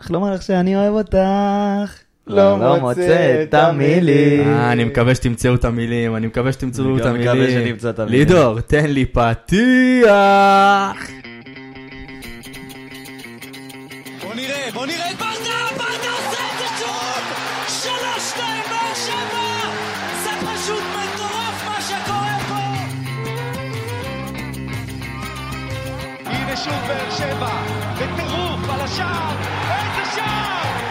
איך לומר לך שאני אוהב אותך? לא מוצא את המילים. אה, אני מקווה שתמצאו את המילים, אני מקווה אני שתמצאו גם את המילים. מקווה שנמצא את המילים. לידור, תן לי פתיח. בוא נראה, בוא נראה את ברדה, ברדה עושה את זה שוב! שלוש, שתיים, באר שבע! זה פשוט מטורף מה שקורה פה! הנה שוב באר שבע, בטירוף על השער, איזה שער!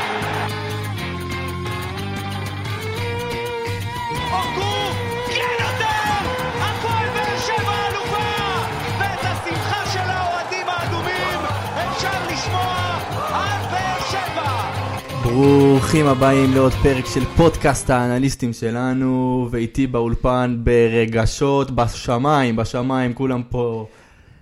אורגו, כן יותר! הפועל באר שבע אלופה! ואת השמחה של האוהדים האדומים אפשר לשמוע על באר שבע! ברוכים הבאים לעוד פרק של פודקאסט האנליסטים שלנו, ואיתי באולפן ברגשות, בשמיים, בשמיים, כולם פה.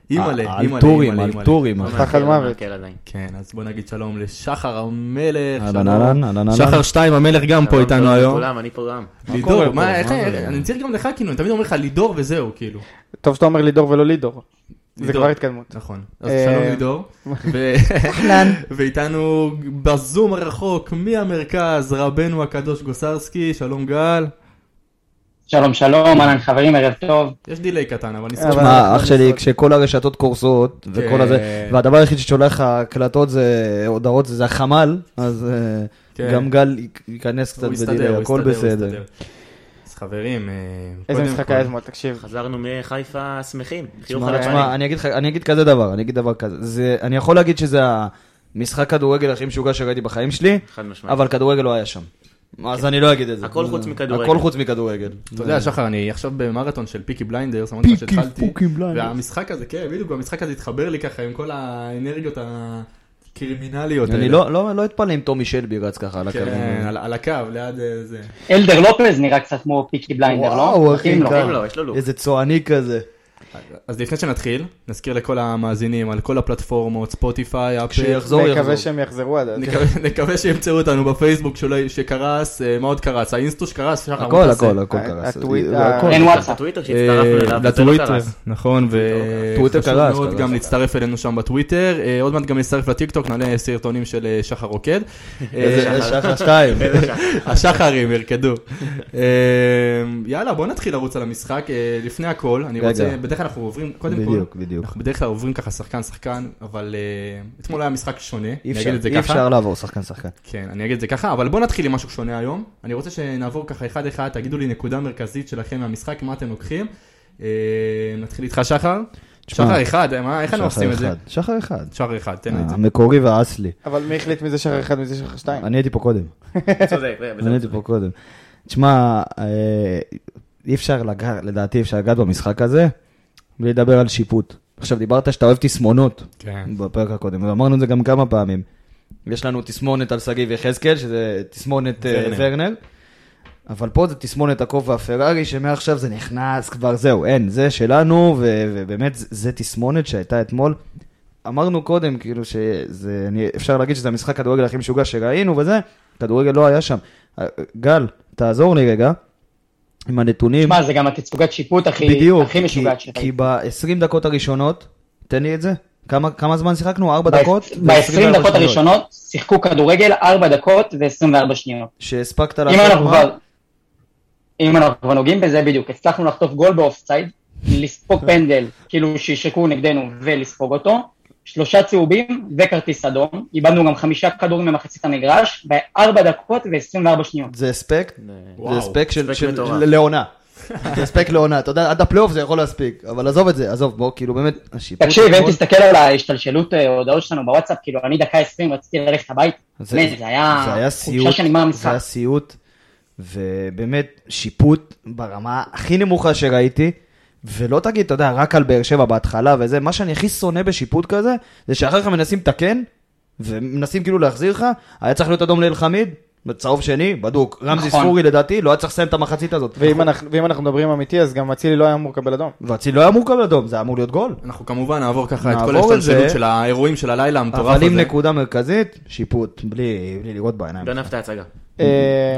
אימא'לה, אה, על אימא'לה, טורים, אימא'לה, על אימא'לה. טורים, לא אחי. מעכל, חחל לא מוות. מעכל עדיין. כן, אז בוא נגיד שלום לשחר המלך. אהלן, שלום. אהלן, אהלן, אהלן. שחר שתיים המלך גם פה איתנו היום. כולם, אני פה גם. לידור, מה, פה? איך, מה איך- זה? אני צריך גם לך כאילו, אני תמיד אומר לך לידור וזהו, כאילו. טוב שאתה אומר לידור ולא לידור. זה לידור. כבר התקדמות. נכון. אז אה, שלום לידור. ו- ואיתנו בזום הרחוק מהמרכז, רבנו הקדוש גוסרסקי, שלום גל. שלום שלום, אהלן חברים, ערב טוב. יש דיליי קטן, אבל אבל- נשמח. שמע, אח שלי, כשכל הרשתות קורסות, וכל הזה, כן. והדבר היחיד ששולח לך הקלטות זה הודעות, זה החמ"ל, אז אה, כן. גם גל י- ייכנס קצת הוא יסתדר, בדיליי, הוא הכל יסתדר, הוא בסדר. יסתדר. אז חברים, אה, איזה קודם משחק כל- היה אתמול, תקשיב. חזרנו מחיפה שמחים. חיוך תשמע, על הפנים. תשמע, אני אגיד לך, אני אגיד כזה דבר, אני אגיד דבר כזה, זה, אני יכול להגיד שזה המשחק כדורגל הכי משוגע שראיתי בחיים שלי, חד משמעית. אבל כדורגל לא היה שם. אז אני לא אגיד את זה. הכל חוץ זה- מכדורגל. הכל חוץ מכדורגל. אתה יודע, שחר, אני עכשיו במרתון של פיקי בליינדרס, אמרתי לך שהתחלתי. פיקי בליינדרס. והמשחק הזה, כן, בדיוק, המשחק הזה התחבר לי ככה עם כל האנרגיות הקרימינליות האלה. אני לא- לא לא אתפלא אם טומי שלבי רץ ככה על הקווים. כן, על- על הקו, ליד אה, זה. אלדר לופז נראה קצת כמו פיקי בליינדר, לא? וואו, אחי, מתאים לו. כמה- לו, לא, יש לו לוק. איזה צועני כזה. אז לפני שנתחיל, נזכיר לכל המאזינים על כל הפלטפורמות, ספוטיפיי, אפל, כשיחזור יחזור. מקווה שהם יחזרו עד אז. נקווה- נקווה שימצאו אותנו בפייסבוק שלא- שקרס, אה, מה עוד קרס? האינסטוש קרס? שחר, מה הכל, תעשה? הכל, הכל קרס. הטוויט, הכל. ה- אין כן. וואטסאפ. הטוויטר אה, שהצטרפנו אליו, זה לא לטוויטר, קרס. נכון, טוויטר וחשוב קרס, מאוד קרס. גם להצטרף אלינו שם בטוויטר, אה, עוד מעט גם להצטרף לטיקטוק, נעלה סרטונים של אה, שחר רוקד. איזה אה, איזה שחר שתיים. השחרים ירקדו. אה, יאללה, בוא נתחיל לרוץ על המשחק. אה, לפני הכל, אני רגע. רוצה, בדרך כלל אנחנו עוברים, קודם כל, בדיוק, בדיוק. אנחנו בדרך כלל עוברים ככה שחקן שחקן, אבל אה, אתמול היה משחק שונה, אי אני אפשר- אגיד את זה אי ככה. אפשר לעבור שחקן שחקן. כן, אני אגיד את זה ככה, אבל בוא נתחיל עם משהו שונה היום. אני רוצה שנעבור ככה אחד-אחד, תגידו לי נקודה מרכזית שלכם מהמשחק, מה אתם לוקחים. אה, נתחיל איתך שחר. תשמע, שחר אחד, אה, מה- איך אנחנו שחר עושים את זה? אחד, אה, שחר אחד. שחר אחד, תן לי את זה. המקורי והאסלי. אבל מי החליט מי זה שחר אחד מי זה שחר שתיים? אני הייתי פה קודם. צודק, זה- אני הייתי פה קודם. תשמע, אה, אי אפשר לגעת, לדעתי אי אפשר לגעת במשחק הזה בלי לדבר על שיפוט. עכשיו, דיברת שאתה אוהב תסמונות כן. בפרק הקודם, ואמרנו את זה גם כמה פעמים. יש לנו תסמונת על שגיב יחזקאל, שזה תסמונת אה, ורנר. ורנר, אבל פה זה תסמונת הכובע הפרארי, שמעכשיו זה נכנס כבר, זהו, אין, זה שלנו, ו- ובאמת, זה- זה תסמונת שהייתה אתמול. אמרנו קודם, כאילו, שזה, אני, אפשר להגיד שזה המשחק כדורגל הכי משוגע שראינו וזה, כדורגל לא היה שם. אה, גל, תעזור לי רגע, עם הנתונים. שמע, זה גם התצוגת שיפוט הכי בדיוק, הכי משוגעת כי, שראיתי. כי ב-20 דקות הראשונות, תן לי את זה, כמה, כמה זמן שיחקנו? 4 ב- דקות? ב-20 ו- דקות הראשונות שיחקו כדורגל 4 דקות ו-24 שניות. שהספקת אם אנחנו מה? כבר... אם אנחנו כבר נוגעים בזה בדיוק, הצלחנו לחטוף גול באופסייד, כן. לספוג פנדל, כאילו שישרקו נגדנו ולספוג אותו, שלושה צהובים וכרטיס אדום, איבדנו גם חמישה כדורים במחצית המגרש, בארבע דקות ו-24 שניות. זה הספק, זה וואו, הספק של, הספק של מטורף. ל- לעונה. זה הספק לעונה, אתה יודע, עד הפלייאוף זה יכול להספיק, אבל עזוב את זה, עזוב, בוא, כאילו באמת, השיפוט... תקשיב, אתמול- אם תסתכל על ההשתלשלות אה, הודעות שלנו בוואטסאפ, כאילו, אני דקה 20 רציתי ללכת הביתה. באמת, זה היה... זה היה סיוט, חופשה שנגמר זה המשחק. היה סיוט, ובאמת שיפוט ברמה הכי נמוכה שראיתי, ולא תגיד, אתה יודע, רק על באר שבע בהתחלה וזה, מה שאני הכי שונא בשיפוט כזה, זה שאחר כך מנסים לתקן, ומנסים כאילו להחזיר לך, היה צריך להיות אדום לאלחמיד, בצהוב שני, בדוק, רמזי נכון. ספורי לדעתי, לא היה צריך לסיים את המחצית הזאת. ואם אנחנו- ואם אנחנו מדברים אמיתי אז גם אצילי לא היה אמור לקבל אדום. ואצילי לא היה אמור לקבל אדום, זה היה אמור להיות גול. אנחנו כמובן נעבור ככה את כל נעבור את זה. ההשתלשלות של האירועים של הלילה המטורף אבל עם הזה. נקודה מרכזית, שיפוט, בלי בלי לראות בעיניים. גנב את ההצגה. אה,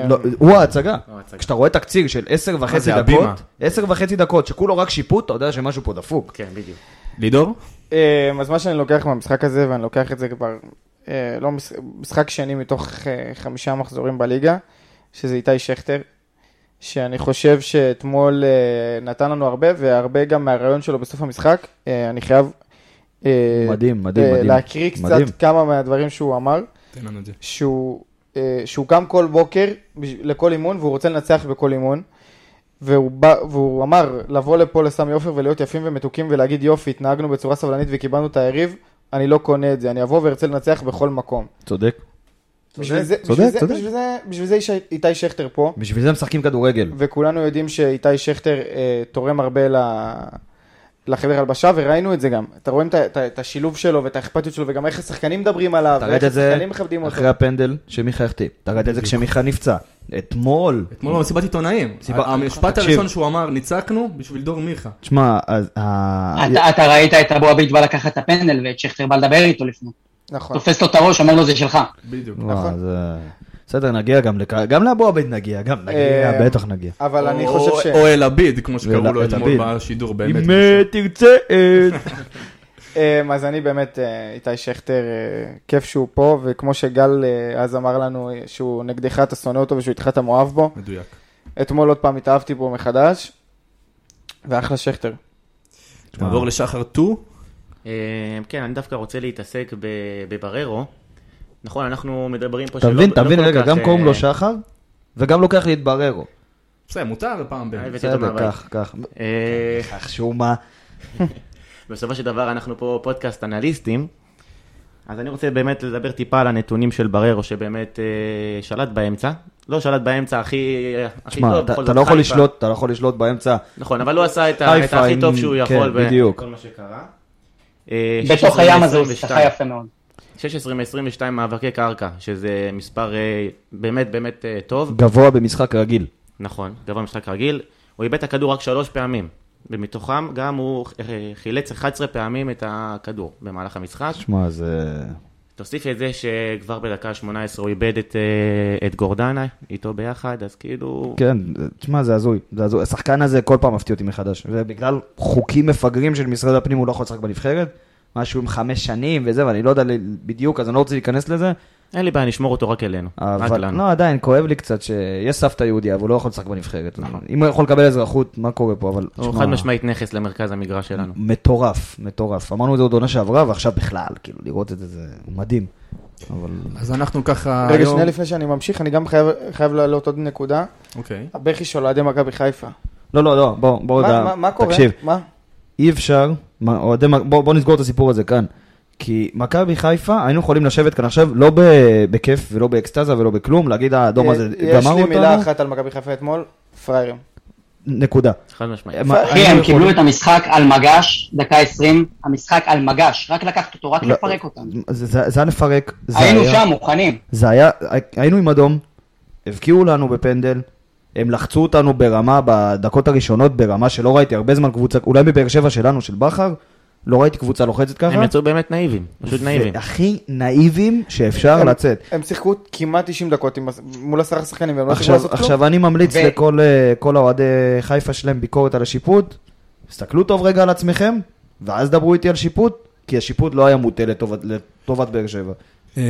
לא, הוא ההצגה. הוא ההצגה. כשאתה רואה תקציר של עשר וחצי זה, דקות, הבימה? עשר וחצי דקות שכולו רק שיפוט, אתה יודע שמשהו פה דפוק. כן, בדיוק. לידור? אמ, אה, אז מה שאני לוקח מהמשחק הזה ואני לוקח את זה כבר אה, לא, מש- משחק שני מתוך אה, חמישה מחזורים בליגה, שזה איתי שכטר, שאני חושב שאתמול אה, נתן לנו הרבה, והרבה גם מהרעיון שלו בסוף המשחק. אה, אני חייב... אה, מדהים, מדהים, אה, מדהים. להקריא קצת מדהים. כמה מהדברים שהוא אמר. תן לנו את זה. שהוא, אה, שהוא קם כל בוקר בש- לכל אימון והוא רוצה לנצח בכל אימון. והוא, בא, והוא אמר לבוא לפה לסמי עופר ולהיות יפים ומתוקים ולהגיד יופי התנהגנו בצורה סבלנית וקיבלנו את היריב אני לא קונה את זה אני אבוא וארצה לנצח בכל מקום. צודק. בשביל זה- צודק, בשביל זה- צודק. בשביל זה- בשביל זה איש- איתי שכטר פה בשביל זה משחקים כדורגל. וכולנו יודעים שאיתי שכטר אה, תורם הרבה ל- לחדר הלבשה וראינו את זה גם אתה רואים את ה- את ה- את השילוב שלו ואת האכפתיות שלו וגם איך השחקנים מדברים עליו אתה ראית ואיך את זה השחקנים מכבדים אותו. אחרי הפנדל שמיכה החטיא. אתה ראית את זה כשמיכה נפצע. אתמול. אתמול במסיבת עיתונאים. סיבה- המשפט תקשיב. הראשון שהוא אמר, ניצקנו בשביל דור מיכה. תשמע, אז... אה, ה- אה, אתה- אתה ראית את אבו עביד בא לקחת את הפנדל ואת שכטר בא לדבר איתו לפני. נכון. תופס לו את הראש, אומר לו זה שלך. בדיוק. וואו, נכון. זה- בסדר, נגיע גם לכ... גם לאבו עביד נגיע, גם נגיע, אה, בטח נגיע. אבל אני או- חושב ש... או אל עביד, כמו שקראו ואל- לו אל עביד. אתמול בשידור, באמת. אם אה, תרצה... אה, אמ, אז אני באמת, אה, איתי שכטר, אה, כיף שהוא פה, וכמו שגל אה, אז אמר לנו אה, שהוא נגדך, אתה שונא אותו ושהוא איתך אתה מאוהב בו, מדויק. אתמול עוד פעם התאהבתי בו מחדש, ואחלה שכטר. נעבור לשחר טו. אה, כן, אני דווקא רוצה להתעסק ב- בבררו. נכון, אנחנו מדברים פה אתה שלא- מבין, לא אתה מבין, כל רגע, כך, גם אה, קוראים לו שחר, וגם לוקח לי את בררו. בסדר, מותר פעם ב... הבאתי אותו בסדר, מהבית. כך, כך. אה, כך שהוא מה. בסופו של דבר אנחנו פה פודקאסט אנליסטים, אז אני רוצה באמת לדבר טיפה על הנתונים של בררו, שבאמת אה, שלט באמצע. לא שלט באמצע הכי הכי תשמע, טוב, אתה בכל אתה זאת לא יכול חיפה. לשלוט, אתה לא יכול לשלוט באמצע. נכון, אבל הוא עשה את ה- חיפה את הכי טוב עם- שהוא כן, יכול. ב- בדיוק. כל מה שקרה. אה, 16 בתוך הים הזה הוא 22. שחה יפה מאוד. 16 מ-22 מאבקי קרקע, שזה מספר אה, באמת באמת אה, טוב. גבוה במשחק רגיל. נכון, גבוה משחק רגיל. הוא איבד את הכדור רק שלוש פעמים, ומתוכם גם הוא אה, חילץ 11 פעמים את הכדור במהלך המשחק. תשמע, זה... תוסיף את זה שכבר בדקה ה-18 הוא איבד את, אה, את גורדנה איתו ביחד, אז כאילו... כן, תשמע, זה הזוי. זה הזוי. השחקן הזה כל פעם מפתיע אותי מחדש. ובגלל חוקים מפגרים של משרד הפנים הוא לא יכול לשחק בנבחרת. משהו עם חמש שנים וזה, ואני לא יודע ל- בדיוק, אז אני לא רוצה להיכנס לזה. אין לי בעיה, נשמור אותו רק אלינו. רק אבל לנו. לא, עדיין, כואב לי קצת שיש סבתא יהודיה, אבל הוא לא יכול לשחק בנבחרת. אם הוא יכול לקבל אזרחות, מה קורה פה? אבל נכון. הוא תשמע, חד משמעית נכס למרכז המגרש שלנו. מטורף, מטורף. אמרנו את זה עוד עונה שעברה, ועכשיו בכלל, כאילו, לראות את זה, זה מדהים. אבל... אז אנחנו ככה רגע, אה, היום... שנייה לפני שאני ממשיך, אני גם חייב- חייב להעלות עוד נקודה, אוקיי. הבכי של אוהדי מכבי חיפה. לא, לא, לא, בוא, בוא מה- רגע, מה- מה קורה? תקשיב, מה? אי אפשר, מה, אוהדי, מכ- בוא, בוא נסגור את הסיפור הזה כאן. כי מכבי חיפה, היינו יכולים לשבת כאן עכשיו, לא ב- בכיף ולא באקסטזה ולא בכלום, להגיד האדום הזה אה, גמר יש לי אותנו, מילה אחת על מכבי חיפה אתמול, פראיירים. נקודה. חד משמעית. מה, אחי, היינו כן, הם קיבלו יכולים- את המשחק על מגש, דקה 20, המשחק על מגש, רק לקחת אותו, רק לא, לפרק אותם. זה זה- זה היה לפרק, זה היינו היה- שם, מוכנים. זה היה, היינו עם אדום, הבקיעו לנו בפנדל, הם לחצו אותנו ברמה, בדקות הראשונות, ברמה שלא ראיתי הרבה זמן קבוצה, אולי בבאר שבע שלנו, של בכר, לא ראיתי קבוצה לוחצת ככה. הם יצאו באמת נאיבים, פשוט נאיבים. הכי נאיבים שאפשר הם- לצאת. הם שיחקו כמעט 90 דקות עם- מול עשרה שחקנים והם לא צריכים עכשיו, לעשות כלום. עכשיו אני ממליץ ו- לכל אה, כל האוהדי חיפה שלהם ביקורת על השיפוט, תסתכלו טוב רגע על עצמכם, ואז דברו איתי על שיפוט, כי השיפוט לא היה מוטה לטובת- לטובת באר שבע. אמ,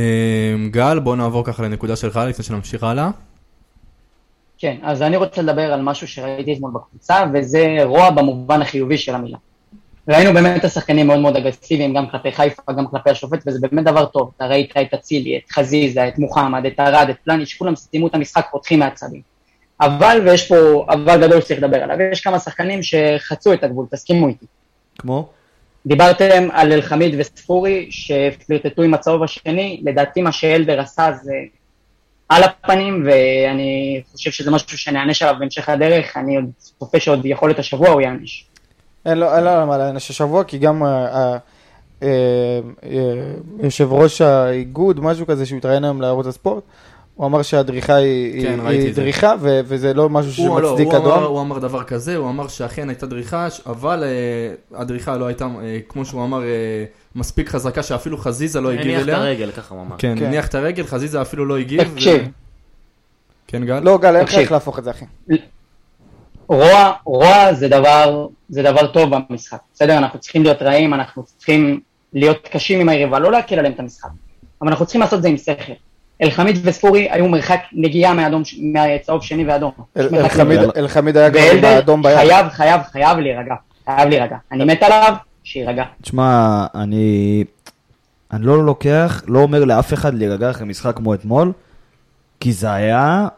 גל, בוא נעבור ככה לנקודה שלך לפני שנמשיך הלאה. כן, אז אני רוצה לדבר על משהו שראיתי אתמול בקבוצה, וזה רוע במובן החיובי של המילה. ראינו באמת את השחקנים מאוד מאוד אגרסיביים, גם כלפי חיפה, גם כלפי השופט, וזה באמת דבר טוב. אתה ראית את אצילי, את חזיזה, את מוחמד, את ארד, את פלניץ', כולם סיימו את המשחק, פותחים מהצדים. אבל, ויש פה אבל גדול שצריך לדבר עליו, יש כמה שחקנים שחצו את הגבול, תסכימו איתי. כמו? דיברתם על אלחמיד וספורי שפלרטטו עם הצהוב השני, לדעתי מה שאלדר עשה זה על הפנים ואני חושב שזה משהו שנענש עליו בהמשך הדרך, אני עוד צופה שעוד יכול להיות השבוע הוא יענש. אין לו אין לו מה לענש השבוע, כי גם אה, אה, אה, אה, יושב ראש האיגוד, משהו כזה, שהוא התראיין היום לערוץ הספורט, הוא אמר שהדריכה היא היא- כן, ראיתי היא את זה. דריכה, ו- וזה לא משהו הוא, לא, שמצדיק הוא, אמר, אדום. הוא אמר דבר כזה, הוא אמר שאכן הייתה דריכה, ש- אבל אה, הדריכה לא הייתה, אה, כמו שהוא אמר, אה, מספיק חזקה שאפילו חזיזה לא הגיב הניח את אליה. הרגל, ככה הוא אמר. כן, כן. הניח את הרגל, חזיזה אפילו לא הגיב. ו- תקשיב, כן, גל? לא, גל, אין לך תקשיב. איך להפוך את זה, אחי. רוע, רוע זה דבר, זה דבר טוב במשחק, בסדר? אנחנו צריכים להיות רעים, אנחנו צריכים להיות קשים עם היריבה, לא להקל עליהם את המשחק. אבל אנחנו צריכים לעשות את זה עם שכל. אלחמיד וספורי היו מרחק נגיעה מהאדום, ש- מהצהוב שני ואדום. יש מרחק אלחמיד- נגיעה. אלחמיד היה גם עם ואלדר האדום ביד. חייב, חייב, חייב להירגע. חייב להירגע. אני מת עליו, שיירגע. תשמע, אני... אני לא לוקח, לא אומר לאף אחד להירגע אחרי משחק כמו אתמול, כי זה היה...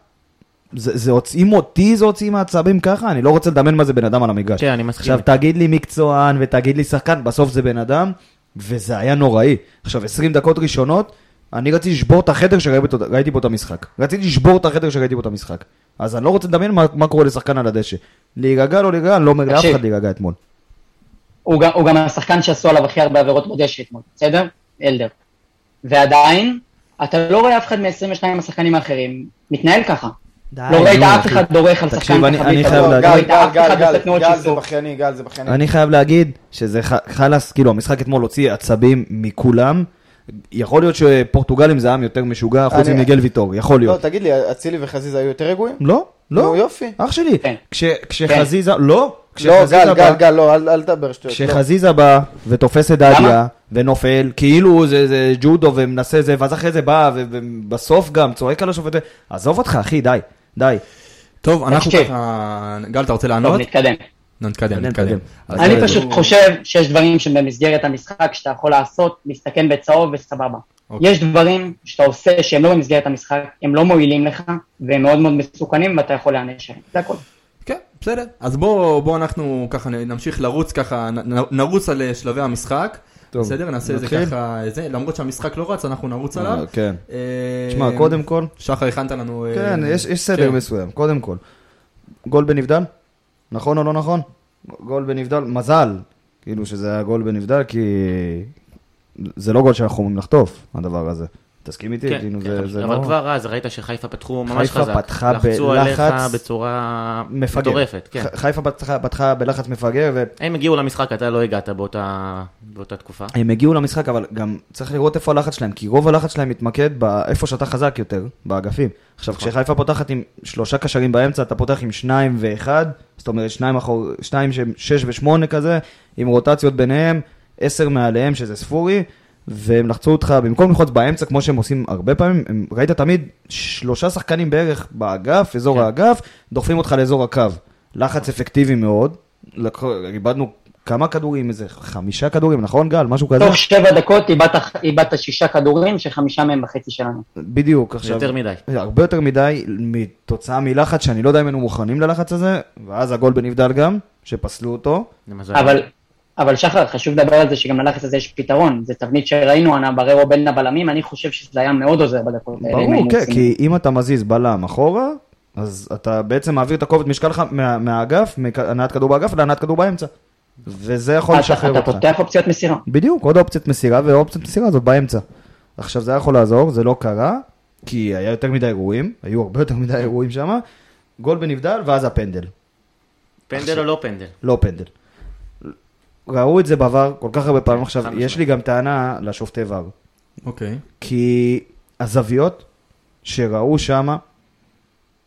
זה, זה הוצאים אותי, זה הוצאים מעצבים ככה, אני לא רוצה לדמיין מה זה בן אדם על המגרש. כן, אני מסכים. עכשיו תגיד לי מקצוען ותגיד לי שחקן, בסוף זה בן אדם, וזה היה נוראי. עכשיו, 20 דקות ראשונות, אני רציתי לשבור את החדר שראיתי אותו- ראיתי בו את המשחק. רציתי לשבור את החדר שראיתי בו את המשחק. אז אני לא רוצה לדמיין מה, מה קורה לשחקן על הדשא. להירגע, לא להירגע, אני לא אומר לאף תקשיב. אחד להירגע אתמול. הוא גם, הוא גם השחקן שעשו עליו הכי הרבה עבירות בדשא אתמול, בסדר? אלדר. ועדיין, אתה לא רואה אף אחד מ-22 השחקנים האחרים מתנהל ככה. די. לא ראית נו, אף אחד אחי. דורך על תקשיב, שחקן אני- ככה. אני בלי חייב כדור. לא, לא להגיד- גל, ראית גל, אף אחד גל, גל, עושה תנועות גל זה שיסור. בכייני, גל זה בכייני. אני חייב להגיד שזה ח- חלאס, כאילו המשחק אתמול הוציא עצבים מכולם. יכול להיות שפורטוגלים זה עם יותר משוגע, חוץ אני- ממיגל ויטור, יכול לא, להיות. תגיד לי, אצילי וחזיזה היו יותר רגועים? לא, נו, לא, יופי. אח שלי. כן. כש- כשחזיזה, לא, לא, כשחזיזה בא- גל, גל, גל, לא, אל אל תדבר שטויות. לא. כשחזיזה בא ותופס את דדיה ונופל, כאילו זה, זה ג'ודו ומנסה זה, ואז אחרי זה בא ו- ובסוף גם צועק על השופט, עזוב אותך אחי, די, די. טוב, אנחנו אוקיי. תקשיב. ככה... גל, אתה רוצה טוב, לענות? נתקדם. לא, נתקדם, נתקדם. נתקדם. אז כן, אני אה, פשוט חושב שיש דברים שבמסגרת המשחק שאתה יכול לעשות, להסתכן בצהוב וסבבה. אוקיי. יש דברים שאתה עושה שהם לא במסגרת המשחק, הם לא מועילים לך, והם מאוד מאוד מסוכנים ואתה יכול להיענש עליהם. זה הכל. כן, בסדר. אז בואו בוא אנחנו ככה נ- נמשיך לרוץ ככה, נ- נ- נרוץ על אה, שלבי המשחק. טוב, בסדר, נעשה את זה נתחיל? ככה, אה, זה, למרות שהמשחק לא רץ, אנחנו נרוץ עליו. אה, כן. אה, תשמע, קודם כל, שחר, הכנת לנו... אה, כן, יש, יש סדר כן. מסוים, קודם כל. גול בנבדל? נכון או לא נכון? גול בנבדל, מזל, כאילו שזה היה גול בנבדל, כי זה לא גול שאנחנו אמורים לחטוף, הדבר הזה. תסכים איתי? כן, כאילו כן, זה, אבל- זה אבל לא... כבר אז ראית שחיפה פתחו ממש חיפה חזק. פתחה לחצו בלחץ עליך בצורה מפגר. מטורפת, כן. ח- חיפה פתחה, פתחה בלחץ מפגר, ו... הם הגיעו למשחק, אתה לא הגעת באותה באותה תקופה. הם הגיעו למשחק, אבל גם צריך לראות איפה הלחץ שלהם, כי רוב הלחץ שלהם מתמקד באיפה שאתה חזק יותר, באגפים. עכשיו, כשחיפה פותחת עם שלושה קשרים באמצע, אתה פותח עם שניים ואחד, זאת אומרת שניים, אחור, שניים שהם שש ושמונה כזה, עם רוטציות ביניהם, עשר מעליהם, שזה ספורי, והם לחצו אותך, במקום לחוץ באמצע, כמו שהם עושים הרבה פעמים, הם, ראית תמיד שלושה שחקנים בערך באגף, אזור כן. האגף, דוחפים אותך לאזור הקו. לחץ אפקטיבי מאוד, לקח, איבדנו כמה כדורים, איזה חמישה כדורים, נכון גל? משהו כזה? תוך שבע דקות איבדת, איבדת שישה כדורים, שחמישה מהם בחצי שלנו. בדיוק, זה עכשיו... יותר מדי. הרבה יותר מדי מתוצאה מלחץ, שאני לא יודע אם היינו מוכנים ללחץ הזה, ואז הגול בנבדל גם, שפסלו אותו. למזל. אבל, אבל שחר, חשוב לדבר על זה שגם ללחץ הזה יש פתרון. זו תבנית שראינו, אנה בררו בין הבלמים, אני חושב שזה היה מאוד עוזר בדקות האלה. אם ברור, היינו כן, עושים. כי אם אתה מזיז בלם אחורה, אז אתה בעצם מעביר את הכובד משקל שלך מה- מהאגף, מהנעת כדור באגף להנעת כדור באמצע. וזה יכול אתה- לשחרר אתה אותך. פותח אופציות מסירה. בדיוק, עוד אופציית מסירה, והאופציית מסירה הזאת באמצע. עכשיו זה היה יכול לעזור, זה לא קרה, כי היה יותר מדי אירועים, היו הרבה יותר מדי אירועים שם, גול בנבדל, ואז הפנדל. פנדל או לא פנדל? לא פנדל. ראו את זה בעבר כל כך הרבה פעמים עכשיו, חד יש לי גם טענה לשופטי VAR, אוקיי. כי הזוויות שראו שמה,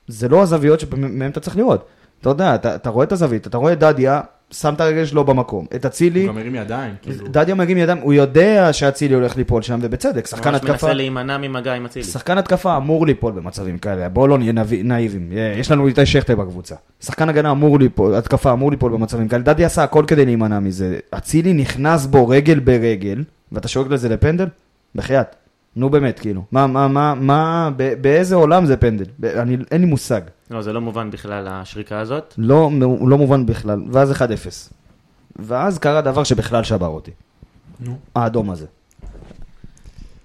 זה לא הזוויות שמהן אתה צריך לראות. אתה יודע, אתה, אתה רואה את הזווית, אתה רואה את דדיה, שם את הרגל שלו במקום, את אצילי, הוא גם הרים ידיים, כאילו. דדיה מגיע מידם, הוא יודע שאצילי הולך ליפול שם, ובצדק, שחקן ממש התקפה, מנסה להימנע ממגע עם אצילי. שחקן התקפה אמור ליפול במצבים כאלה, בואו לא נהיה נאיב- נאיבים, אה, יש לנו איתי שכטר בקבוצה. שחקן הגנה אמור ליפול, התקפה אמור ליפול במצבים כאלה, דדי עשה הכל כדי להימנע מזה. אצילי נכנס בו רגל ברגל, ואתה שורק לזה לפנדל? בחייאת. נו באמת, כאילו. מה, מה, מה, מה, ב- באיזה עולם זה פנדל? ב- אני, אין לי מושג. לא, זה לא מובן בכלל, השריקה הזאת. לא, הוא לא מובן בכלל, ואז 1-0. ואז קרה דבר שבכלל שבר אותי. נו. האדום הזה.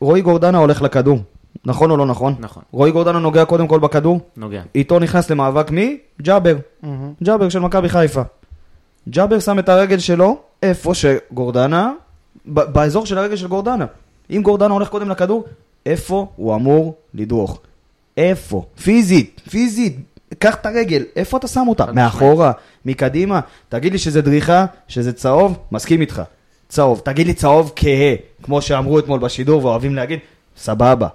רועי גורדנה הולך לכדור, נכון או לא נכון? נכון. רועי גורדנה נוגע קודם כל בכדור, נוגע. איתו נכנס למאבק מי? ג'אבר. לא. ג'אבר של מכבי חיפה. ג'אבר שם את הרגל שלו, איפה שגורדנה, ב- באזור של הרגל של גורדנה. אם גורדנה הולך קודם לכדור, איפה הוא אמור לדרוך? איפה? פיזית, פיזית. קח את הרגל, איפה אתה שם אותה? חד מאחורה, מקדימה. תגיד לי שזה דריכה, שזה צהוב, מסכים איתך. צהוב. תגיד לי צהוב כהה, כמו שאמרו אתמול בשידור ואוהבים להגיד, סבבה.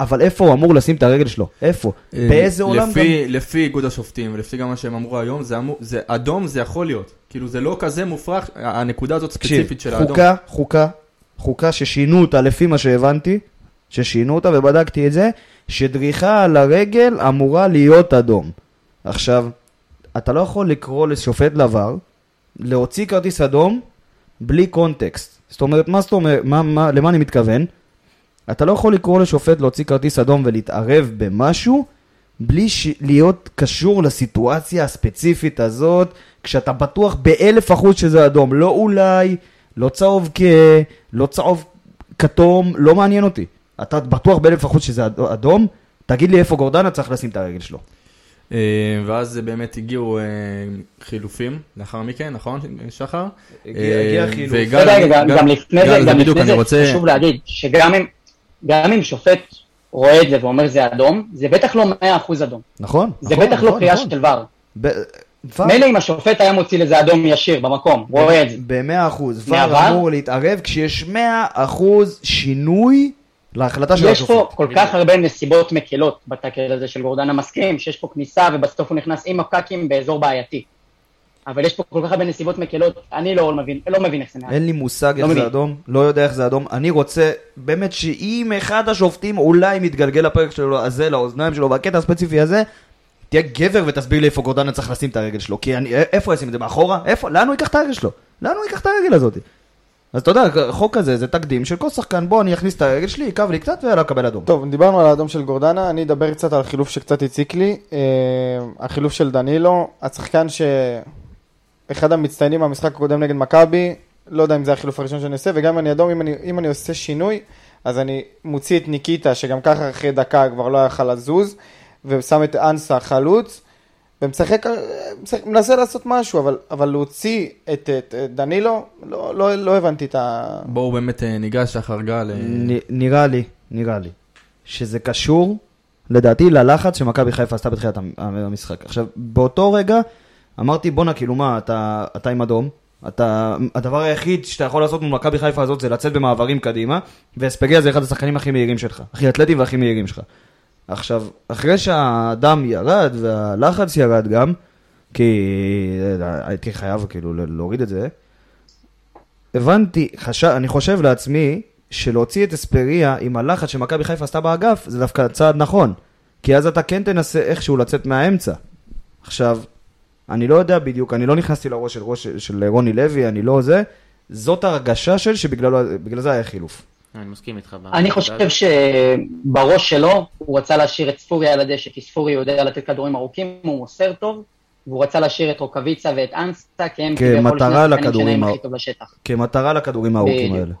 אבל איפה הוא אמור לשים את הרגל שלו? איפה? אה, באיזה עולם גם... לפי, לפי איגוד השופטים, ולפי גם מה שהם אמרו היום, זה, אמור, זה אדום זה יכול להיות. כאילו זה לא כזה מופרך, הנקודה הזאת ספציפית של האדום. חוקה, חוקה, חוקה ששינו אותה לפי מה שהבנתי, ששינו אותה, ובדקתי את זה, שדריכה על הרגל אמורה להיות אדום. עכשיו, אתה לא יכול לקרוא לשופט דבר, להוציא כרטיס אדום, בלי קונטקסט. זאת אומרת, מה זאת אומרת, מה, מה, למה אני מתכוון? אתה לא יכול לקרוא לשופט להוציא כרטיס אדום ולהתערב במשהו בלי ש... להיות קשור לסיטואציה הספציפית הזאת, כשאתה בטוח באלף אחוז שזה אדום. לא אולי, לא צהוב כהה, לא צהוב כתום, לא מעניין אותי. אתה בטוח באלף אחוז שזה אד- אדום, תגיד לי איפה גורדנה צריך לשים את הרגל שלו. אה, ואז באמת הגיעו אה, חילופים לאחר מכן, נכון, שחר? הגיע- אה, הגיע חילוף. וגל- אתה יודע, גם- גל- גם לפני גל, זה, גם בדיוק, לפני אני רוצה- זה, חשוב להגיד, שגם אם- גם אם שופט רואה את זה ואומר זה אדום, זה בטח לא 100% אדום. נכון? זה נכון, בטח לא נכון, קריאה נכון. של ור. ב... ור- מילא אם השופט היה מוציא לזה אדום ישיר במקום, כן. רואה את זה. במאה אחוז. ור מהעבר? אמור להתערב כשיש מאה אחוז שינוי להחלטה של יש השופט. פה כל כך הרבה נסיבות מקלות בטאקל הזה של גורדנה מסכים, שיש פה כניסה ובסוף הוא נכנס עם הפקקים באזור בעייתי. אבל יש פה כל כך הרבה נסיבות מקלות, אני לא מבין, לא מבין איך זה נעשה. אין לי מושג איך זה לא מבין. אדום, לא יודע איך זה אדום. אני רוצה באמת שאם אחד השופטים אולי מתגלגל הפרק שלו הזה לאוזניים שלו, והקטע הספציפי הזה, תהיה גבר ותסביר לי איפה גורדנה צריך לשים את הרגל שלו. כי אני, אה, איפה ישים את זה? מאחורה? איפה? לאן הוא ייקח את הרגל שלו? לאן הוא ייקח את הרגל הזאת? אז אתה יודע, החוק הזה זה תקדים של כל שחקן, בוא אני אכניס את הרגל שלי, יכאב לי קצת ויאללה קבל אדום. טוב, דיברנו על האדום של גורדנה, אני אדבר קצת על חילוף שקצת הציק לי. אה, החילוף של דנילו, השחקן ש... אחד המצטיינים מהמשחק הקודם נגד מכבי, לא יודע אם זה החילוף הראשון שאני עושה, וגם אם אני אדום, אם אני, אם אני עושה שינוי, אז אני מוציא את ניקיטה, שגם ככה אחרי דקה כבר לא יכל לזוז, ושם את אנסה חלוץ, ומשחק, אה, משחק, מנסה לעשות משהו, אבל, אבל להוציא את, את, את דנילו, לא, לא, לא הבנתי את ה... בואו באמת אה, ניגש שחר גל. אה, נ- נראה לי, נראה לי, שזה קשור, לדעתי, ללחץ שמכבי חיפה עשתה בתחילת המ- המשחק. עכשיו, באותו רגע, אמרתי, בואנה, כאילו מה, אתה, אתה עם אדום, אתה, הדבר היחיד שאתה יכול לעשות מול מכבי חיפה הזאת זה לצאת במעברים קדימה, ואספגיה זה אחד השחקנים הכי מהירים שלך, הכי אתלטיים והכי מהירים שלך. עכשיו, אחרי שהדם ירד והלחץ ירד גם, כי אה, הייתי חייב כאילו ל- להוריד את זה, הבנתי, חש... אני חושב לעצמי, שלהוציא את אספריה עם הלחץ שמכבי חיפה עשתה באגף, זה דווקא צעד נכון. כי אז אתה כן תנסה איכשהו לצאת מהאמצע. עכשיו, אני לא יודע בדיוק, אני לא נכנסתי לראש של, ראש, של רוני לוי, אני לא זה. זאת ההרגשה של שבגללו- בגלל זה היה חילוף. אני מסכים איתך. ב- אה, אני חושב שבראש שלו, הוא רצה להשאיר את ספוריה על הדשא, כי ספוריה יודע לתת כדורים ארוכים, הוא מוסר טוב, והוא רצה להשאיר את רוקאביצה ואת אנסה, כי הם כביכול כמטרה שני השחקנים כן, לכדורים שלהם ה- הכי טוב לשטח. כמטרה לכדורים הארוכים בדיוק. האלה.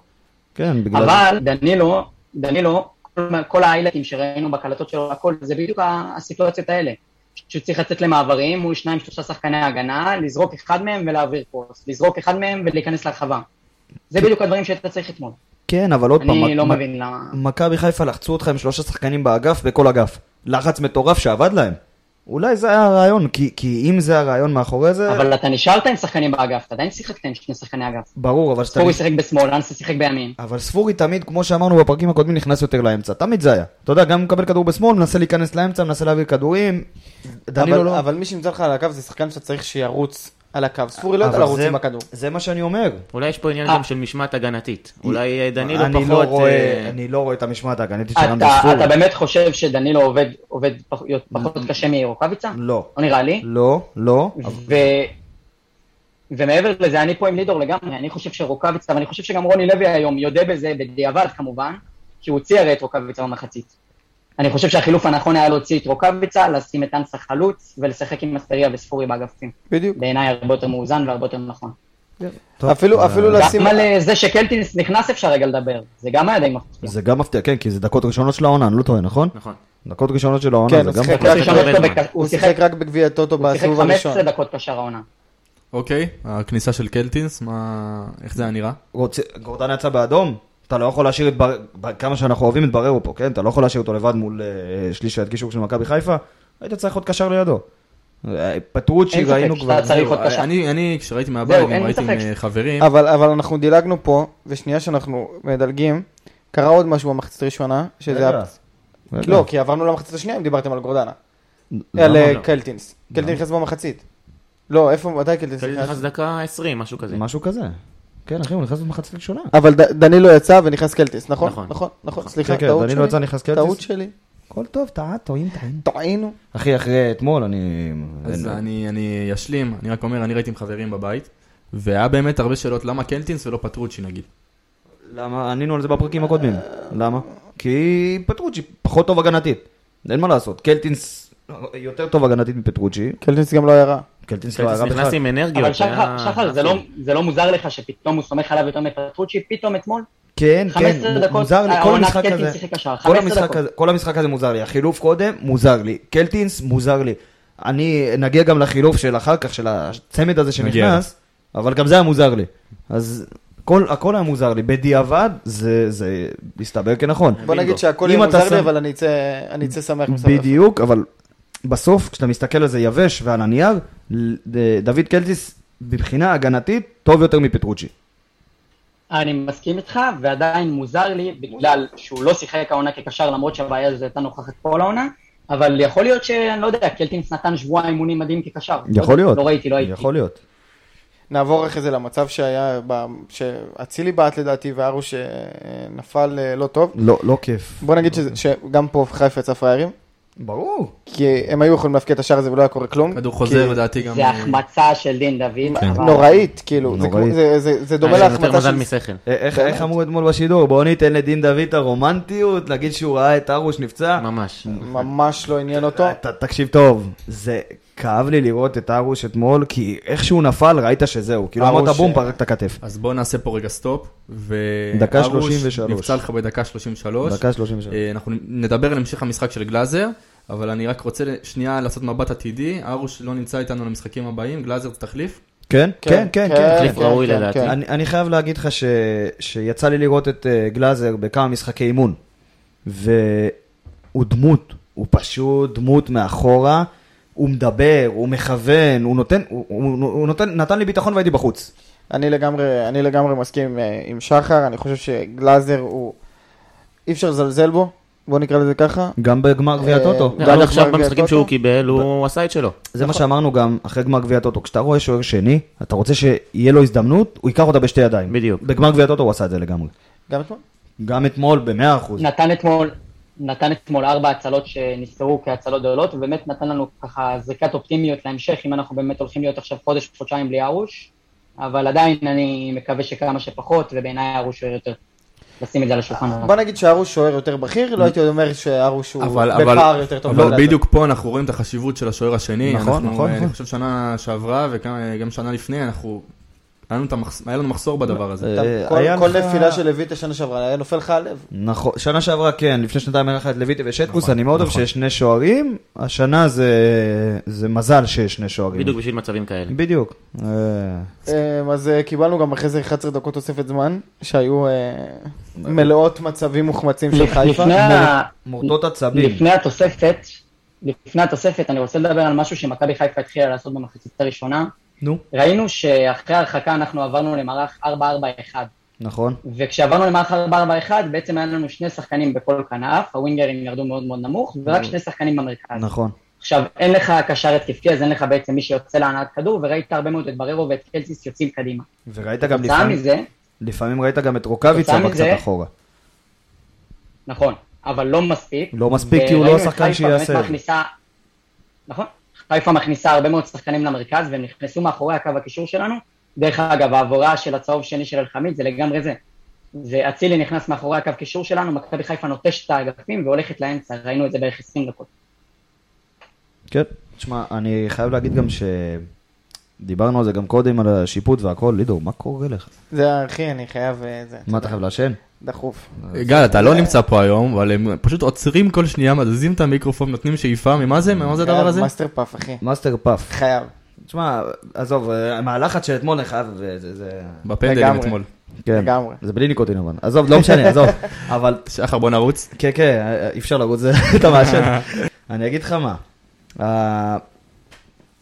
כן, בגלל זה. אבל דנילו, דנילו, כל- כל האיילטים שראינו בהקלטות שלו, הכל, זה בדיוק ה- הסיטואציות האלה. שהוא צריך לצאת למעברים מול שניים שלושה שחקני הגנה, לזרוק אחד מהם ולהעביר פוסט, לזרוק אחד מהם ולהיכנס לרחבה. זה בדיוק הדברים שהיית צריך אתמול. כן, אבל כן. עוד פעם, אני לא מ- מבין למה... מכבי חיפה לחצו אותך עם שלושה שחקנים באגף, בכל אגף. לחץ מטורף שעבד להם. אולי זה היה הרעיון, כי, כי אם זה הרעיון מאחורי זה, אבל אתה נשארת עם שחקנים באגף, אתה עדיין שיחקת עם שני שחקני אגף. ברור, אבל שאתה... ספורי שיחק בשמאל, אנסה שיחק בימין. אבל ספורי תמיד, כמו שאמרנו בפרקים הקודמים, נכנס יותר לאמצע. תמיד זה היה. אתה יודע, גם הוא מקבל כדור בשמאל, מנסה להיכנס לאמצע, מנסה להעביר כדורים. דנילו אבל, לא. אבל מי שנמצא לך על הקו זה שחקן שאתה צריך שירוץ על הקו. ספורי לא יודע לרוץ אה, זה- עם הכדור. זה מה שאני אומר. אולי יש פה עניין אה. גם של משמעת הגנתית. אולי אה, דנילו אני פחות... לא רואה- אה, אני לא רואה את המשמעת ההגנתית של רמדי אתה, אתה ספורי. באמת חושב שדנילו עובד, עובד פח- פחות קשה מרוקאביצה? לא. לא נראה לי. לא, לא. ו... ומעבר לזה, אני פה עם לידור לגמרי, אני חושב שרוקאביצה, ואני חושב שגם רוני לוי היום יודה בזה, בדיעבד כמובן, כי הוא הוציא הרי את רוקאביצה במחצית. אני חושב שהחילוף הנכון היה להוציא את רוקאביצה, לשים את אנסה חלוץ, ולשחק עם אסטריה וספורי באגפים. בדיוק. בעיניי הרבה יותר מאוזן והרבה יותר נכון. טוב, אפילו- אבל- אפילו לא- לשים- גם על אה, זה שקלטינס נכנס אפשר רגע לדבר, זה גם היה די מפתיע. זה גם מפתיע, כן, כי זה דקות ראשונות של העונה, אני לא טועה, נכון? נכון. דקות ראשונות של העונה, כן, זה הוא גם... שיחק בטוח רק- שישחק. הוא שיחק רק בגביע הטוטו הוא שיחק בסיבוב הראשון. 15 דקות קשר העונה. אוקיי, הכניסה של קלטינס, מה... איך זה היה נראה? רוצה- גורדנה יצא באדום? אתה לא יכול להשאיר את בר... ב- כמה שאנחנו אוהבים את בררו פה, כן? אתה לא יכול להשאיר אותו לבד מול אה, שליש הקישור של מכבי חיפה? היית צריך עוד קשר לידו. אה, פטרוצ'י אין ספק ראינו שאתה כבר... צריך עוד קשר. אני, אני, כשראיתי מהבית, זהו, גם אין ראיתי עם ספק. אה, חברים. אבל, אבל אנחנו דילגנו פה, ושנייה שאנחנו מדלגים, קרה עוד משהו במחצית הראשונה, שזה... רגע. היה... רגע. לא, כי עברנו למחצית השנייה אם דיברתם על גורדנה. למה על אה, לא? קלטינס. קלטינס נכנס במחצית. לא, איפה, מתי קלטינס קלטינס נכנס נכנס? דקה 20, משהו כזה. משהו כזה. כן, אחי, הוא נכנס במחצית ראשונה. אבל ד- דנילו יצא ונכנס קלטיס, נכון? נכון. נכון, נכון, כן, סליחה, כן, טעות דנילו יצא, שלי. נכנס טעות קלטיס. שלי. הכל טוב, טעה, טועים, טעים. טעינו. אחי, אחרי אתמול, אני... אז אין- אני, אני אשלים, אני רק אומר, אני ראיתי עם חברים בבית, והיה באמת הרבה שאלות למה קלטינס ולא פטרוצ'י נגיד. למה? ענינו על זה בפרקים הקודמים. למה? כי פטרוצ'י פחות טוב הגנתית. אין מה לעשות. קלטינס יותר טוב הגנתית מפטרוצ'י. קלטיס גם לא היה רע. קלטינס לא קלטיס היה נכנס בכלל. עם אנרגיות. אה, אבל שחר, היה- שחר, זה לא- זה לא מוזר לך שפתאום הוא סומך עליו יותר מפטרוצ'י, פתאום אתמול? כן, 15 כן, דקות, מוזר לי, כל העונה המשחק קלטינס הזה, שיחק השער, כל 15 המשחק דקות. הזה, כל המשחק הזה מוזר לי, החילוף קודם מוזר לי, קלטינס מוזר לי, אני נגיע גם לחילוף של אחר כך, של הצמד הזה שנכנס, אבל גם זה היה מוזר לי, אז כל, הכל היה מוזר לי, בדיעבד זה, זה הסתבר כנכון, בוא נגיד שהכל אם יהיה אתה מוזר שם- לי, אבל אני אצא- אני אצא שמח מסביב. בדיוק, אבל בסוף כשאתה מסתכל על זה יבש ועל הנייר, ל- ד- דוד קלטיס מבחינה הגנתית טוב יותר מפטרוצ'י, אני מסכים איתך, ועדיין מוזר לי, בגלל שהוא לא שיחק העונה כקשר, למרות שהבעיה הזאת הייתה נוכחת כל העונה, אבל יכול להיות שאני לא יודע, קלטינס נתן שבוע אימונים מדהים כקשר. לא יודע, יכול להיות, לא ראיתי, לא הייתי. יכול להיות, נעבור אחרי זה למצב שהיה, ב- שאצילי בעט לדעתי והרוש אה, נפל אה, לא טוב. לא, לא כיף, בוא נגיד שזה- אוקיי. שגם פה חיפה יצא פראיירים, ברור. כי הם היו יכולים להפקיע את השער הזה ולא היה קורה כלום. כדור חוזר לדעתי גם... כן, אה, זה החמצה של דין כן. דוד. אבל- לא, נוראית, כאילו, זה נוראית. כמו- זה- זה- זה דומה היה להם אה, יותר להחמצה מזל של... משכל. אה, איך, איך אמרו אתמול בשידור? בואו ניתן לדין דוד את הרומנטיות, להגיד שהוא ראה את ארוש נפצע. ממש. אה, אה, ממש לא עניין אותו. ת, תקשיב טוב, זה כאב לי לראות את ארוש אתמול, כי איך שהוא נפל ראית שזהו. כאילו ארוש- אמרת בום, פרק את הכתף. אז בואו נעשה פה רגע סטופ, ו... דקה ארוש 33. נפצע לך בדקה 33. דקה 33. אה, אנחנו נדבר על המשך המשחק של גלאזר, אבל אני רק רוצה שנייה לעשות מבט עתידי. ארוש לא נמצא איתנו למשחקים הבאים, גלאזר זה תחליף. כן, כן, כן, כן. החליף ראוי לדעתי. כן. אני, אני חייב להגיד לך ש, שיצא לי לראות את אה, גלאזר בכמה משחקי אימון, והוא דמות, הוא פשוט דמות מאחורה, הוא מדבר, הוא מכוון, הוא נותן, הוא, הוא, הוא נותן, נתן לי ביטחון והייתי בחוץ. אני לגמרי, אני לגמרי מסכים אה, עם שחר, אני חושב שגלאזר הוא... אי אפשר לזלזל בו, בוא נקרא לזה ככה. גם בגמר גביע אה, הטוטו. נכון. גם עד עכשיו עכשיו בטוטו? במשחקים שהוא קיבל, הוא עשה את שלו. זה מה שאמרנו גם אחרי גמר גביע הטוטו, כשאתה רואה שוער שני, אתה רוצה שיהיה לו הזדמנות, הוא ייקח אותה בשתי ידיים. בדיוק. בגמר גביע הטוטו הוא עשה את זה לגמרי. גם אתמול? גם אתמול במאה אחוז. נתן אתמול, נתן אתמול ארבע הצלות שנספרו כהצלות גדולות, ובאמת נתן לנו ככה זריקת אופטימיות להמשך, אם אנחנו באמת הולכים להיות עכשיו חודש, חודשיים בלי ארוש, אבל עדיין אני מקווה שכמה שפחות, ובעיניי ארוש הוא יותר, לשים את זה על השולחן. בוא נגיד שהרוש שוער יותר בכיר, לא הייתי אומר שהרוש הוא אבל, בפער אבל, יותר טוב. אבל מגלאזר. בדיוק פה אנחנו רואים את החשיבות של השוער השני. נכון, נכון, אנחנו, אה, נכון. אני חושב שנה שעברה וגם אה, שנה לפני, אנחנו... היה לנו, את המחס... היה לנו מחסור בדבר הזה. אתה- אה, כל- היה כל לך- נפילה של לויטה שנה שעברה, היה נופל לך הלב. נכון, שנה שעברה כן, לפני שנתיים היה לך את לויטי ושטקוס, נכון, אני מאוד אוהב שיש שני שוערים, השנה זה זה מזל שיש שני שוערים. בדיוק בשביל מצבים כאלה. בדיוק. אה, אמ, אז אה, קיבלנו גם אחרי זה 11 דקות תוספת זמן, שהיו אה, מלאות מצבים מוחמצים של חיפה. לפני ה- מורטות עצבים. לפני התוספת, לפני התוספת, אני רוצה לדבר על משהו שמכבי חיפה התחילה לעשות במחצית הראשונה. נו, ראינו שאחרי ההרחקה אנחנו עברנו למערך 4-4-1. נכון. וכשעברנו למערך 4-4-1, בעצם היה לנו שני שחקנים בכל כנף, הווינגרים ירדו מאוד מאוד נמוך, ורק שני שחקנים במרכז. נכון. עכשיו, אין לך קשר התקפי, אז אין לך בעצם מי שיוצא להנעת כדור, וראית הרבה מאוד את בררו ואת קלציס יוצאים קדימה. וראית גם כתוצאה לפעמים, מזה, לפעמים ראית גם את רוקאביצה כתוצאה בקצת מזה- אחורה. נכון, אבל לא מספיק. לא מספיק, כי הוא לא וראינו את השחקן אוקיי, חיפה שיעשה באמת את זה. מכניסה- נכון, חיפה מכניסה הרבה מאוד שחקנים למרכז, והם נכנסו מאחורי הקו הקישור שלנו. דרך אגב, העבורה של הצהוב שני של אלחמיד זה לגמרי זה. זה אצילי נכנס מאחורי הקו קישור שלנו, מכבי חיפה נוטשת את האגפים והולכת לאמצע, ראינו את זה בערך 20 דקות. כן. תשמע, אני חייב להגיד גם ש... דיברנו על זה גם קודם, על השיפוט והכל. לידור, מה קורה לך? זה היה, אחי, אני חייב, אה, זה, מה אתה חייב לעשן? דחוף. גל, אתה לא נמצא פה היום, אבל הם פשוט עוצרים כל שנייה, מזיזים את המיקרופון, נותנים שאיפה, ממה זה? ממה זה הדבר חייב הזה? מאסטר פאף, אחי. מאסטר פאף. חייב. תשמע, עזוב, אה, מהלחץ של אתמול אני חייב... אה, זה- זה... בפנדלים לגמרי. אתמול. כן. לגמרי. זה בלי ניקוטין אבל. עזוב, לא משנה, עזוב. אבל שחר, בוא נרוץ. כן, כן, אה, אי אפשר לרוץ, זה- אתה מעשן. אני אגיד לך מה, ה-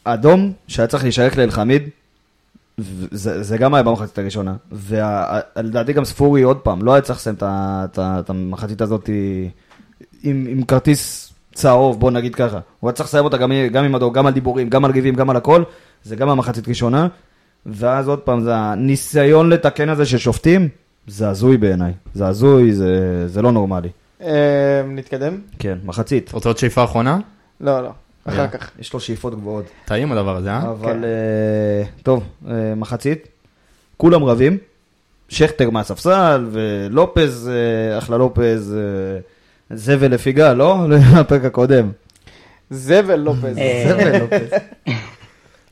האדום שהיה צריך להישלח לאלחמיד, ו- זה זה גם היה במחצית הראשונה, ולדעתי גם ספורי עוד פעם, לא היה צריך לסיים את ה- את ה- את המחצית הזאת עם עם כרטיס צהוב, בוא נגיד ככה. הוא היה צריך לסיים אותה גם גם עם הדור, גם על דיבורים, גם על גיבים, גם על הכל, זה גם המחצית ראשונה. ואז עוד פעם, זה הניסיון לתקן הזה של שופטים, זה הזוי בעיניי. זה הזוי, זה, זה לא נורמלי. אה, נתקדם? כן, מחצית. רוצה עוד שאיפה אחרונה? לא, לא. אחר כך. יש לו שאיפות גבוהות. טעים הדבר הזה, אה? אבל אה, טוב, אה, מחצית. כולם רבים. שכטר מהספסל, ולופז, אה, אחלה לופז, אה, זבל לפי גל, לא? לפרק הקודם. זבל לופז. אה, זבל לופז.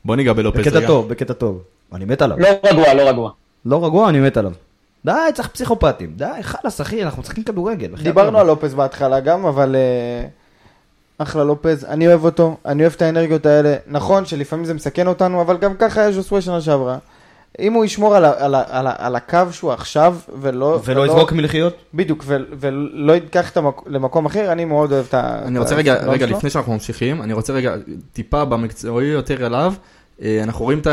בוא ניגע בלופס רגע. בקטע טוב, בקטע טוב. אני מת עליו. לא רגוע, לא רגוע. לא רגוע, אני מת עליו. די, צריך פסיכופטים. די, חלאס, אחי, אנחנו משחקים כדורגל. אחי, דיברנו הכל. על לופז בהתחלה גם, אבל אה, אחלה לופז, אני אוהב אותו, אני אוהב את האנרגיות האלה. נכון שלפעמים זה מסכן אותנו, אבל גם ככה היה ז'וסווה שנה שעברה. אם הוא ישמור על, ה- על, ה- על, ה- על הקו שהוא עכשיו, ולא... ולא יזרוק מלחיות? בדיוק, ו, ולא ייקח את המק, למקום אחר, אני מאוד אוהב את ה... אני את רוצה ה- רגע, הסגנון רגע, שלו. לפני שאנחנו ממשיכים, אני רוצה רגע טיפה במקצועי יותר עליו. אה, אנחנו רואים את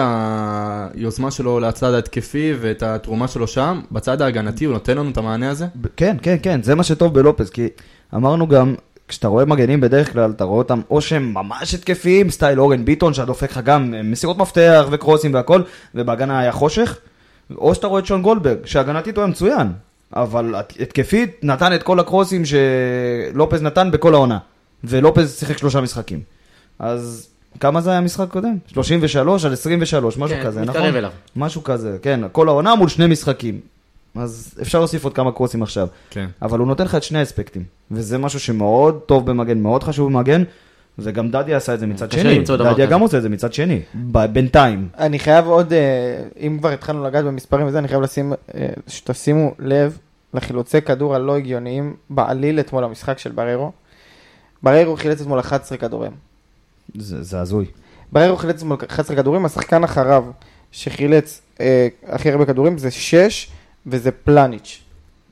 היוזמה שלו לצד ההתקפי ואת התרומה שלו שם. בצד ההגנתי הוא נותן לנו את המענה הזה. ב- כן, כן, כן, זה מה שטוב בלופז, כי אמרנו גם, כשאתה רואה מגנים בדרך כלל, אתה רואה אותם או שהם ממש התקפיים, סטייל אורן ביטון, שאתה דופק לך גם אה, מסירות מפתח וקרוסים והכל, ובהגנה היה חושך, או שאתה רואה את שון גולדברג, שהגנתית הוא היה מצוין, אבל הת- התקפית נתן את כל הקרוסים שלופז נתן בכל העונה, ולופז שיחק שלושה משחקים. אז... כמה זה היה המשחק קודם? 33 על 23, משהו כן, כזה, נכון? מתקרב אליו. משהו כזה, כן, כל העונה מול שני משחקים. אז אפשר להוסיף עוד כמה קורסים עכשיו. כן. אבל הוא נותן לך את שני האספקטים, וזה משהו שמאוד טוב במגן, מאוד חשוב במגן, וגם דדיה עשה את זה מצד קשה שני. למצוא דבר דדיה כזה. גם עושה את זה מצד שני, ב- בינתיים. אני חייב עוד, אה, אם כבר התחלנו לגעת במספרים וזה, אני חייב לשים, אה, שתשימו לב לחילוצי כדור הלא הגיוניים בעליל אתמול המשחק של בררו. בררו חילץ אתמול 11 כדורים. זה זה הזוי. בררו חילץ אתמול 11 כדורים, השחקן אחריו שחילץ אה, הכי הרבה כדורים זה 6 וזה פלניץ'.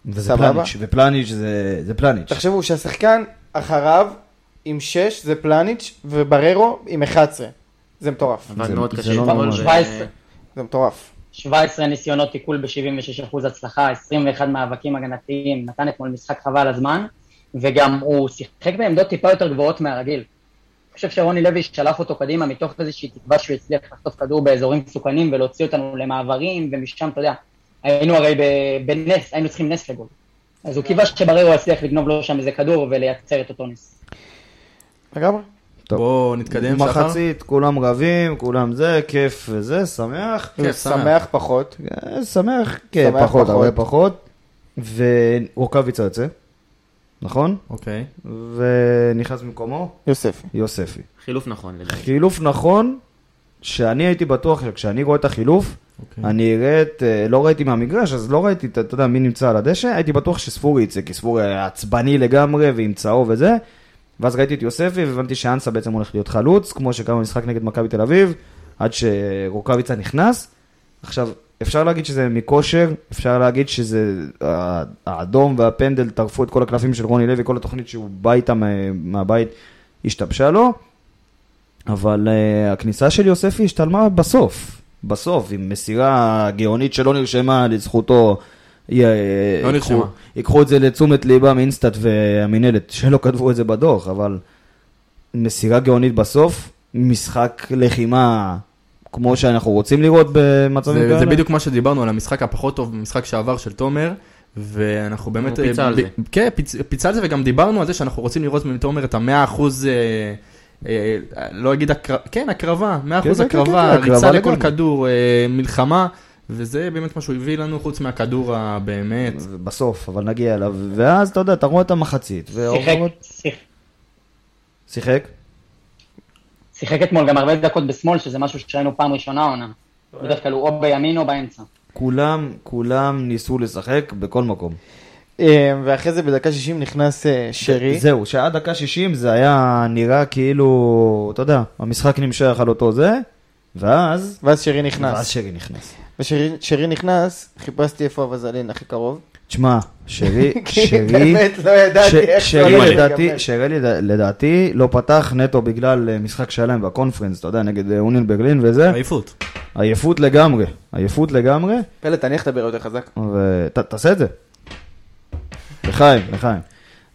וזה סבבה. פלניץ', ופלניץ' זה זה פלניץ'. תחשבו שהשחקן אחריו עם 6 זה פלניץ' ובררו עם 11. זה מטורף, זה- עבד מאוד זה קשה. לא אתמול, אה, נורמלי. ו- 17. זה מטורף. 17 ניסיונות תיקול ב-76% הצלחה, 21 מאבקים הגנתיים, נתן אתמול משחק חבל הזמן, וגם הוא שיחק בעמדות טיפה יותר גבוהות מהרגיל. אני חושב שרוני לוי שלף אותו קדימה מתוך איזושהי תקווה שהוא יצליח לחטוף כדור באזורים מסוכנים ולהוציא אותנו למעברים, ומשם, אתה יודע, היינו הרי ב- בנס, היינו צריכים נס לגול. אז הוא קיווה שבררו יצליח לגנוב לו שם איזה כדור ולייצר את אותו נס. לגמרי. טוב. בואו נתקדם, שחר. מחצית, כולם רבים, כולם זה, כיף וזה, שמח. כן, שמח פחות. אה, שמח, כן, שמח פחות, פחות. הרבה פחות. ורוקאביצה יוצא, נכון? אוקיי. ונכנס במקומו יוספי. יוספי. חילוף נכון לדעתי. חילוף נכון, שאני הייתי בטוח שכשאני רואה את החילוף, אוקיי. אני אראה את, אה, לא ראיתי מהמגרש, אז לא ראיתי, אתה אתה יודע, מי נמצא על הדשא, הייתי בטוח שספורי יצא, כי ספורי היה עצבני לגמרי, ועם צהוב וזה, ואז ראיתי את יוספי, והבנתי שאנסה בעצם הולך להיות חלוץ, כמו שקם במשחק נגד מכבי תל אביב, עד שרוקאביצה נכנס. עכשיו, אפשר להגיד שזה מכושר, אפשר להגיד שזה, ה- האדום והפנדל טרפו את כל הקלפים של רוני לוי, כל התוכנית שהוא בא איתה מה- מהבית השתבשה לו, אבל uh, הכניסה של יוספי השתלמה בסוף, בסוף, עם מסירה גאונית שלא נרשמה לזכותו. י- אה, ייקחו- נרשמה. ייקחו את זה לתשומת ליבם אינסטאט והמינהלת, שלא כתבו את זה בדוח, אבל מסירה גאונית בסוף, משחק לחימה כמו שאנחנו רוצים לראות במצבים זה, כאלה. זה בדיוק מה שדיברנו על המשחק הפחות טוב במשחק שעבר של תומר, ואנחנו באמת... הוא פיצה אה, על ב- זה. כן, פיצ, פיצה על זה, וגם דיברנו על זה שאנחנו רוצים לראות מתומר את המאה אחוז, אה, אה, לא אגיד הקרבה, כן, הקרבה, מאה כן, אחוז כן, כן, הקרבה, כן, כן, ריצה הקרבה לכל לגמרי. כדור, אה, מלחמה, וזה באמת מה שהוא הביא לנו חוץ מהכדור הבאמת. בסוף, אבל נגיע אליו, ואז אתה יודע, אתה רואה את המחצית. שיחק, והאוברול- שיחק, שיחק? שיחק אתמול גם הרבה דקות בשמאל, שזה משהו שראינו פעם ראשונה העונה. בדרך כלל הוא או בימין או באמצע. כולם, כולם ניסו לשחק בכל מקום. אה, ואחרי זה בדקה 60 נכנס אה, שרי. זהו, שעד דקה 60 זה היה נראה כאילו, אתה יודע, המשחק נמשך על אותו זה, ואז... ואז שרי נכנס. ואז שרי נכנס. ושרי שרי נכנס, חיפשתי איפה הבזלין הכי קרוב. תשמע, שרי, כי שרי, כן, באמת לא ידעתי ש- איך לא זה שרי הולך לדעתי, להיגמר. שרי לדע- לדעתי לא פתח נטו בגלל אה, משחק שלם בקונפרנס, אתה יודע, נגד אה, אוניון ברלין וזה, עייפות. עייפות לגמרי, עייפות לגמרי, פלט, תניח את הבאר יותר חזק. ותעשה את זה. לחיים, לחיים.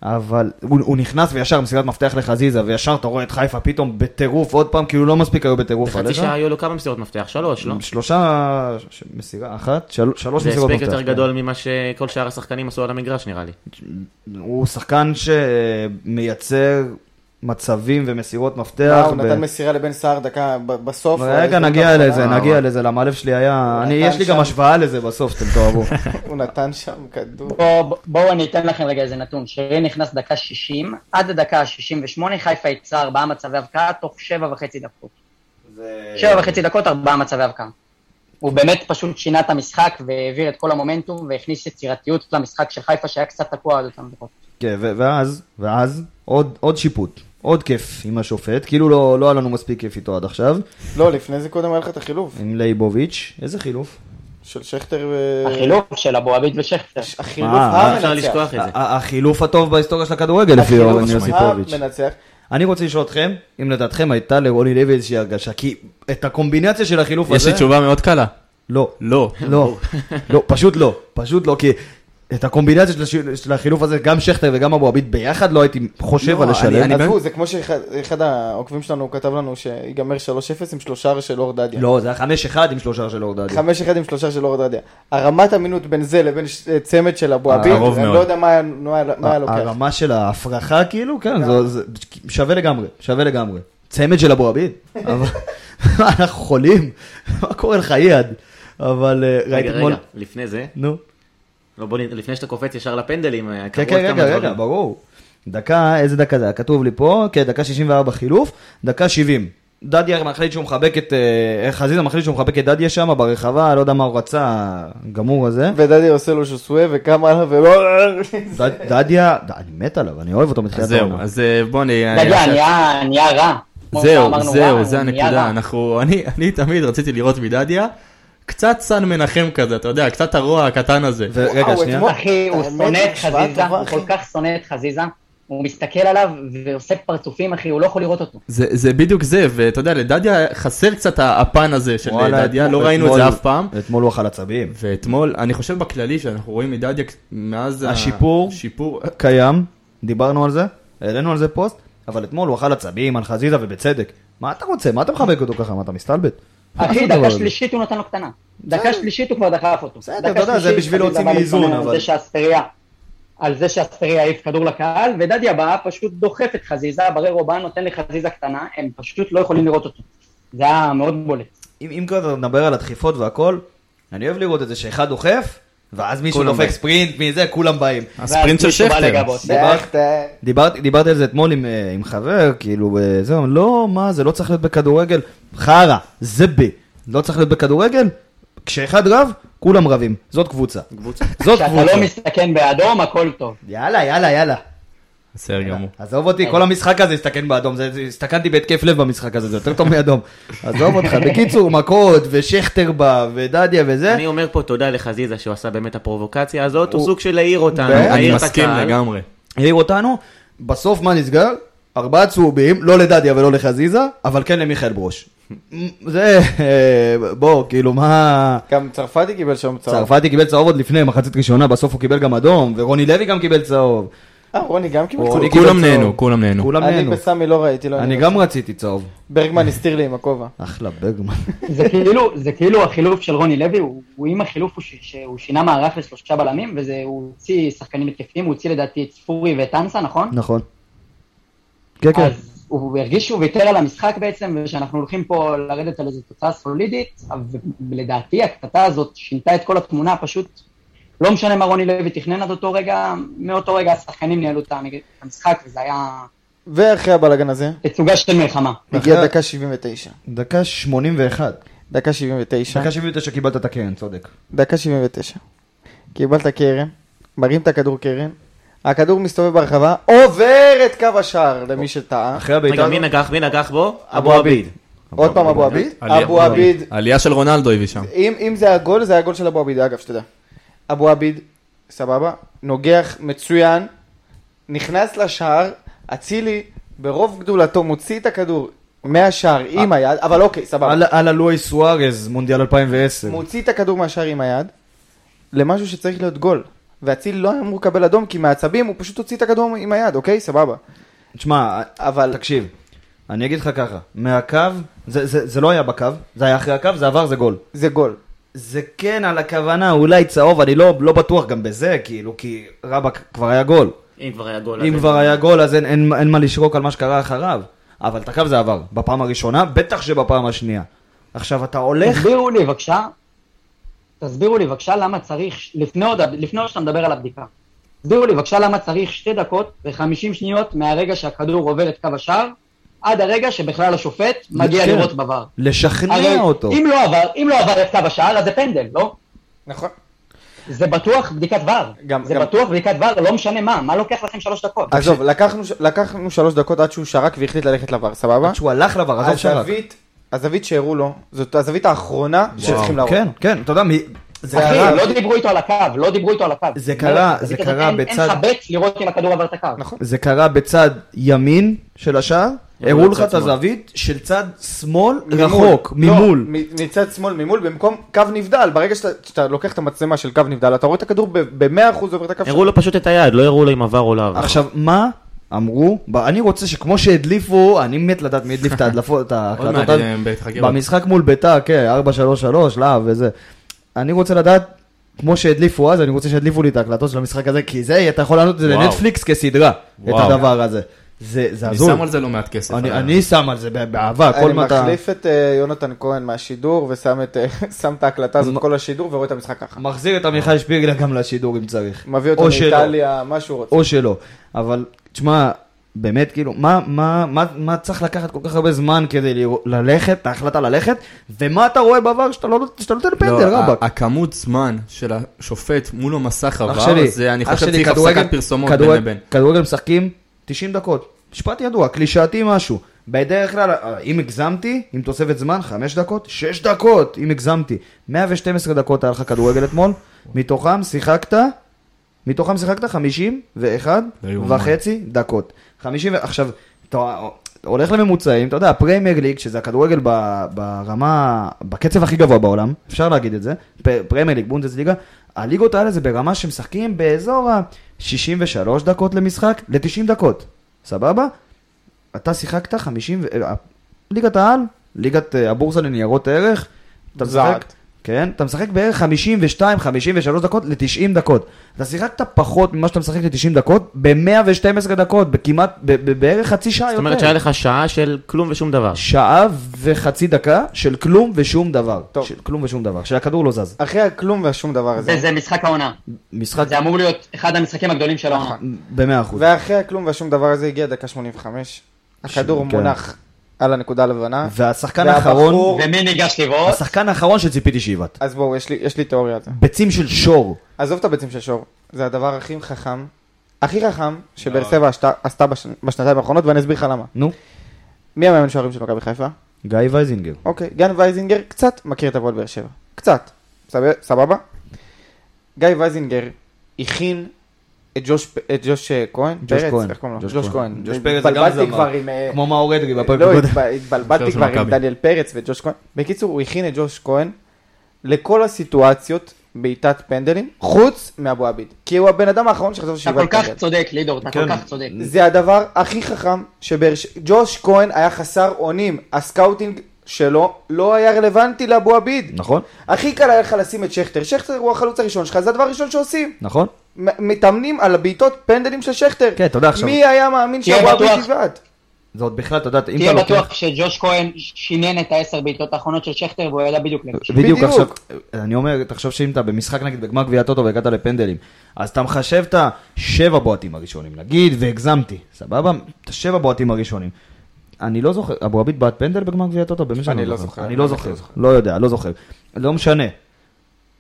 אבל הוא, הוא נכנס וישר מסירת מפתח לחזיזה, וישר אתה רואה את חיפה פתאום בטירוף עוד פעם, כאילו לא מספיק היו בטירוף בחצי עליך. שעה היו לו כמה מסירות מפתח? שלוש, לא? שלושה, ש- מסירה אחת, של, שלוש זה מסירות הספק מפתח. כן. יותר גדול ממה שכל שאר השחקנים עשו על המגרש נראה לי. אה, כן. הוא שחקן שמייצר מצבים ומסירות מפתח. הוא ב- נתן מסירה לבן סער דקה ב- בסוף. רגע, נגיע לזה, נגיע לזה, למה הלב שלי היה... הוא אני, נתן יש לי אה, שם. גם השוואה לזה בסוף, שאתם תאהבו. הוא נתן שם כדור. בואו בוא, אני אתן לכם רגע איזה נתון. שרי נכנס דקה 60, עד הדקה ה-68 חיפה יצאה ארבעה מצבי הבקעה תוך שבע וחצי דקות. שבע וחצי דקות, ארבעה מצבי הבקעה. הוא באמת פשוט שינה את המשחק והעביר את כל המומנטום והכניס יצירתיות למשחק של חיפה שהיה קצת תקוע עד אותם דקות. כן, ו- ואז, ואז, עוד, עוד שיפוט, עוד כיף עם השופט, כאילו לא, לא היה לנו מספיק כיף איתו עד עכשיו, לא, לפני זה קודם היה לך את החילוף עם לייבוביץ', איזה חילוף. של שכטר ו... החילוף של אבו עביד ושכטר. הש- החילוף מה, אפשר המנצח. לשכוח את זה. ה- ה- החילוף הטוב בהיסטוריה של הכדורגל, לפי החילוף אורן יוסיפוביץ'. המנצח. אני רוצה לשאול אתכם, אם לדעתכם הייתה לרוני לוי איזושהי הרגשה, כי את הקומבינציה של החילוף יש הזה... לי תשובה מאוד קלה. לא. לא. לא, לא, פשוט לא, פשוט לא, כי את הקומבינציה של, הש- של החילוף הזה, גם שכטר וגם אבו עביד ביחד, לא הייתי חושב לא, על לשלם. אני עזבו, באמת- זה כמו שאחד אחד העוקבים שלנו כתב לנו שיגמר 3-0 עם שלושה של אור דדיה. לא, זה היה 5-1 עם שלושה של אורדדיה. 5-1 עם שלושה של אור דדיה. הרמת אמינות בין זה לבין ש- צמד של אבו עביד, קרוב אני מאוד. לא יודע מה היה- מה היה מה היה לוקח. הרמה של ההפרחה כאילו, כן, זו- זה שווה לגמרי, שווה לגמרי. צמד של אבו עביד, אבל מה, אנחנו חולים, מה קורה לך יד? אבל אה, ראיתי רגע, אתמול, רגע, לפני זה, נו, לא, בוא נ- לפני שאתה קופץ ישר לפנדלים, אה, כן, קרו עוד כן, רגע, כמה רגע, דברים. ברור. דקה, איזה דקה זה היה? כתוב לי פה, כן, דקה 64 חילוף, דקה 70. דדיה מחליט שהוא מחבק את, אה, חזיזה מחליט שהוא מחבק את דדיה שם ברחבה, לא יודע מה הוא רצה, הגמור הזה. ודדי עושה לו שוסווה וקמה עליו ולא... ד- דדיה, ד- אני מת עליו, אני אוהב אותו מתחילת אז זהו, העונה. אז אה, בוא אני... אתה יודע, נהיה- נהיה רע. כמו זהו, שאמרנו, וואו, זהו, זה נהיה הנקודה. רע. אנחנו, אני, אני תמיד רציתי לראות מדדיה, קצת סן מנחם כזה, אתה יודע, קצת הרוע הקטן הזה. ורגע, וואו, שנייה. אתמול- אחי, הוא האמת, שונא את השוואה חזיזה, טובה, הוא כל אחי. כך שונא את חזיזה, הוא מסתכל עליו ועושה פרצופים, אחי, הוא לא יכול לראות אותו. זה, זה בדיוק זה, ואתה יודע, לדדיה חסר קצת הפן הזה של וואלה, דדיה, אתמול- לא ראינו את אתמול- זה אף פעם. אתמול הוא אכל עצבים. ואתמול, אני חושב בכללי שאנחנו רואים מדדיה מאז ה- השיפור. שיפור, קיים, דיברנו על זה, העלינו על זה פוסט, אבל אתמול הוא אכל עצבים על חזיזה ובצדק. מה אתה רוצה? מה אתה מחבק אותו ככה? מה אתה מסתלבט? מה אחי, אתה דקה אומר? שלישית הוא נתן לו קטנה. דקה שלישית הוא כבר דחף אותו. בסדר, דקה אתה יודע, זה שלישית, בשביל חזיזה להוציא בא מאיזון, להתלונן אבל- על זה שהאספריה, על זה שהאספריה העיף כדור לקהל, ודדיה בא, פשוט דוחף את חזיזה, בררו בא, נותן לחזיזה קטנה, הם פשוט לא יכולים לראות אותו. זה היה מאוד בולט. אם, אם כבר נדבר על הדחיפות והכל, אני אוהב לראות את זה שאחד דוחף, ואז מישהו כולם דופק באים. ספרינט מזה, כולם באים. הספרינט של ואז מישהו בא שכטר. לגבות. שכטר. דיברתי, דיברתי על זה אתמול עם, אה, עם חבר, כאילו, אה, זהו, לא, מה, זה לא צריך להיות בכדורגל, חרא, זה בי, לא צריך להיות בכדורגל, כשאחד רב, כולם רבים, זאת קבוצה. קבוצה. זאת כשאתה קבוצה. לא מסתכן באדום, הכל טוב. יאללה, יאללה, יאללה. בסדר אה, גמור. עזוב אותי, כל המשחק הזה הסתכן באדום, זה- זה- הסתכנתי בהתקף לב במשחק הזה, זה יותר טוב מאדום. עזוב אותך, בקיצור, מכות, ושכטר בא, ודדיה וזה. אני אומר פה תודה לחזיזה שהוא עשה באמת הפרובוקציה הזאת, הוא סוג של להעיר אותנו, אה? אני להעיר את מסכים הקהל. לגמרי. העיר אותנו, בסוף מה נסגר? ארבעה צהובים, לא לדדיה ולא לחזיזה, אבל כן למיכאל ברוש. זה, אה, בוא, כאילו מה... גם צרפתי קיבל שם צהוב. צרפתי קיבל צהוב עוד לפני, מחצית ראשונה, בסוף הוא קיבל גם אדום, ורוני לוי גם קיבל צהוב. אה, רוני גם קיבל צהוב. רוני קיבל כולם צהוב. נהנו, כולם נהנו. כולם אני נהנו. בסמי לא ראיתי, לא אני נהניתי. גם רציתי צהוב. ברגמן הסתיר לי עם הכובע. אחלה ברגמן. זה כאילו, זה כאילו החילוף של רוני לוי, הוא, הוא עם החילוף, הוא, ש, שהוא שינה מערך לשלושה בלמים, וזה, הוא הוציא שחקנים התקפיים, הוא הוציא לדעתי את ספורי ואת אנסה, נכון? נכון. כן, כן. אז הוא הרגיש שהוא ויתר על המשחק בעצם, ושאנחנו הולכים פה לרדת על איזו תוצאה סולידית, ולדעתי הקטטה הזאת שינתה את כל התמונה, פשוט לא משנה מה רוני לוי תכנן עד אותו רגע, מאותו רגע השחקנים ניהלו את המשחק, וזה היה ואחרי הבלאגן הזה, תצוגה של מלחמה. הגיעה דקה 79. דקה 81. דקה 79. דקה 79 קיבלת את הקרן, צודק. דקה 79. קיבלת קרן, מרים את הכדור קרן, הכדור מסתובב ברחבה, עובר את קו השער למי שטעה. אחרי הבעיטה... רגע, מי נגח? מי נגח בו? אבו עביד. עוד פעם אבו עביד. עלייה- אבו אה, עביד, עלייה של רונלדו הביא שם. אם אם זה היה גול, זה היה גול של אבו עביד, אגב, שתדע. אבו עביד, סבבה, נוגח מצוין, נכנס לשער, אצילי ברוב גדולתו מוציא את הכדור מהשער עם היד, אבל אוקיי, סבבה. על- על הלואי סוארז, מונדיאל 2010. מוציא את הכדור מהשער עם היד, למשהו שצריך להיות גול. ואציל לא היה אמור לקבל אדום, כי מהעצבים הוא פשוט הוציא את הכדור עם היד, אוקיי? סבבה. תשמע, אבל... תקשיב, אני אגיד לך ככה, מהקו, זה, זה, זה לא היה בקו, זה היה אחרי הקו, זה עבר, זה גול. זה גול. זה כן על הכוונה, אולי צהוב, אני לא, לא בטוח גם בזה, כאילו, כי רבאק כבר היה גול. אם כבר היה גול. אם אז- כבר היה גול, אז אין, אין, אין מה לשרוק על מה שקרה אחריו. אבל את הקו זה עבר, בפעם הראשונה, בטח שבפעם השנייה. עכשיו, אתה הולך... תסבירו לי בבקשה, תסבירו לי בבקשה למה צריך, ש- לפני עוד, לפני עוד שאתה מדבר על הבדיקה, תסבירו לי בבקשה למה צריך שתי דקות ו-50 שניות מהרגע שהכדור עובר את קו השער, עד הרגע שבכלל השופט מגיע כן. לראות בVAR. לשכנע אותו. אם לא עבר, אם לא עבר את קו השער, אז זה פנדל, לא? נכון. זה בטוח בדיקת ור. גם- זה גם- בטוח בדיקת ור, לא משנה מה, מה לוקח לכם שלוש דקות? עזוב, לקחנו ש- לקחנו שלוש דקות עד שהוא שרק והחליט ללכת לבר, סבבה? שהוא הלך לבר, עזוב שרק. הזווית, הזווית שהראו לו, זאת הזווית האחרונה שצריכים להראות. כן, כן, אתה יודע מי... זה אחי, הרע. לא דיברו איתו על הקו, לא דיברו איתו על הקו. זה קרה, בזווית זה הזאת קרה אין- אין בצד- לך בט לראות אם הכדור עבר את הקו. נכון. זה קרה בצד ימין של השער, לא, הראו לך לצד את הזווית של צד שמאל ממול. רחוק, לא, ממול. מ- מצד שמאל ממול, במקום קו נבדל, ברגע שאתה- שאתה לוקח את המצלמה של קו נבדל, אתה רואה את הכדור ב-100% עובר את הקו שלך. הראו לו פשוט את היד, לא הראו לו אם עבר או לא עבר. עכשיו, מה אמרו? ב- אני רוצה שכמו שהדליפו, אני מת לדעת מי הדליף את ההדלפות, את ההקלטות. מעט, אז- אה, בחקירות. במשחק מול ביתר, כן, 4-3-3, להב וזה. אני רוצה לדעת, כמו שהדליפו אז, אני רוצה שידליפו לי את ההקלטות של המשחק הזה, כי זה, אתה יכול לענות את זה וואו. לנטפליקס כסדרה, את וואו. הדבר הזה. זה זה אני הזוי. שם על זה לא מעט כסף. אני- אבל- אני שם על זה בא- באהבה, כל אני מה אתה... מחליף את אה, יונתן כהן מהשידור ושם את, אה, שם את ההקלטה הזאת כל השידור ורואה את המשחק ככה. מחזיר את עמיחי שפיגלר גם לשידור אם צריך. מביא אותו או שלא. מאיטליה, מה שהוא רוצה. או שלא. אבל, תשמע, באמת, כאילו, מה, מה, מה, מה צריך לקחת כל כך הרבה זמן כדי לרא- ללכת, את ההחלטה ללכת, ומה אתה רואה בעבר שאתה לא שאתה נותן פנדל, לא, ה- רבאק. הכמות זמן של השופט מול המסך אח עבר, שלי, זה אני אח חושב שלי, צריך כדורגל- הפסקת פרסומות בין כדורגל- לבין. כדורגל משחקים 90 דקות. משפט ידוע, קלישאתי משהו. בדרך כלל, אה, אם הגזמתי, עם תוספת זמן, 5 דקות, 6 דקות, אם הגזמתי. 112 דקות היה לך כדורגל אתמול, מתוכם שיחקת, מתוכם שיחקת 51 לא יאומן. וחצי דקות. 50, ו- עכשיו, אתה הולך לממוצעים, אתה יודע, הפריימר ליג, שזה הכדורגל ב- ברמה, בקצב הכי גבוה בעולם, אפשר להגיד את זה, פ- פריימר ליג, בונדס ליגה, הליגות האלה זה ברמה שמשחקים באזור ה-63 דקות למשחק, ל-90 דקות, סבבה? אתה שיחקת 50, ו- אה, ליגת העל, ליגת אה, הבורסה לניירות ערך, אתה משחק, זעת. כן, אתה משחק בערך 52-53 דקות ל-90 דקות. אתה שיחקת פחות ממה שאתה משחק ל-90 דקות, ב-112 דקות, בכמעט, ב- ב- בערך חצי שעה זאת יותר. אומרת שהיה לך שעה של כלום ושום דבר. שעה וחצי דקה של כלום ושום דבר. טוב. של כלום ושום דבר, שהכדור לא זז. אחרי הכלום והשום דבר הזה. זה- זה משחק העונה. משחק זה אמור להיות אחד המשחקים הגדולים של נכון. העונה. במאה אחוז. ואחרי הכלום והשום דבר הזה הגיע דקה 85. הכדור כן. מונח על הנקודה הלבנה. והשחקן והבחור- האחרון, ומי ניגש לבעוט? השחקן האחרון שציפיתי שיבעט. אז בואו, יש לי- יש לי תיאוריה על זה. ביצים של שור. עזוב את הביצים של שור, זה הדבר הכי חכם, הכי חכם שבאר שבע עשתה- עשתה בש- בשנתיים האחרונות, ואני אסביר לך למה. לא. נו, מי המאמן שוערים של מכבי חיפה? גיא וייזינגר. אוקיי, גן וייזינגר קצת מכיר את הפועל באר שבע. קצת. סב- סבבה? גיא וייזינגר הכין את ג'וש פ- את ג'וש אה, כהן? ג'וש פרץ? כהן. איך קוראים לו? ג'וש ג'וש כהן. כהן. ג'וש פרץ זה גם התבלבלתי זמר. כבר עם... אה, כמו מאור אדרי בפרק לא, הקודם. התב- התבלבלתי של כבר עם מכבי. דניאל פרץ וג'וש כהן. בקיצור, הוא הכין את ג'וש כהן לכל הסיטואציות בעיטת פנדלים, חוץ מאבו עביד. כי הוא הבן אדם האחרון שחשב אתה שהוא כל יבעט כך פנדל. צודק, לידור, אתה כל כן. כך צודק. זה הדבר הכי חכם שבאר ש... ג'וש כהן היה חסר אונים, הסקאוטינג שלו לא היה רלוונטי לאבו עביד. נכון, הכי קל היה לך לשים את שכטר, שכטר הוא החלוץ הראשון שלך, זה הדבר הראשון שעושים. נכון. מ- מתאמנים על הבעיטות פנדלים של שכטר. כן, אתה יודע עכשיו. מי היה מאמין תהיה שאבו עביד בטוח. יבעט? זה עוד בכלל, אתה יודע, אם תהיה אתה לוקח... בטוח שג'וש כהן שינן את העשר בעיטות האחרונות של שכטר והוא ידע בדיוק לאן. בדיוק בדיוק. עכשיו, אני אומר, תחשוב שאם אתה במשחק נגיד בגמר גביע הטוטו והגעת לפנדלים, אז אתה מחשב את השבע בועטים הראשונים, נגיד, והגזמתי, סבבה? את השבע בועטים הראשונים. אני לא זוכר, אבו עביד בעט פנדל בגמר גביע הטוטו? באמת שאני אני לא זוכר. אני לא זוכר, לא יודע, לא זוכר. לא משנה.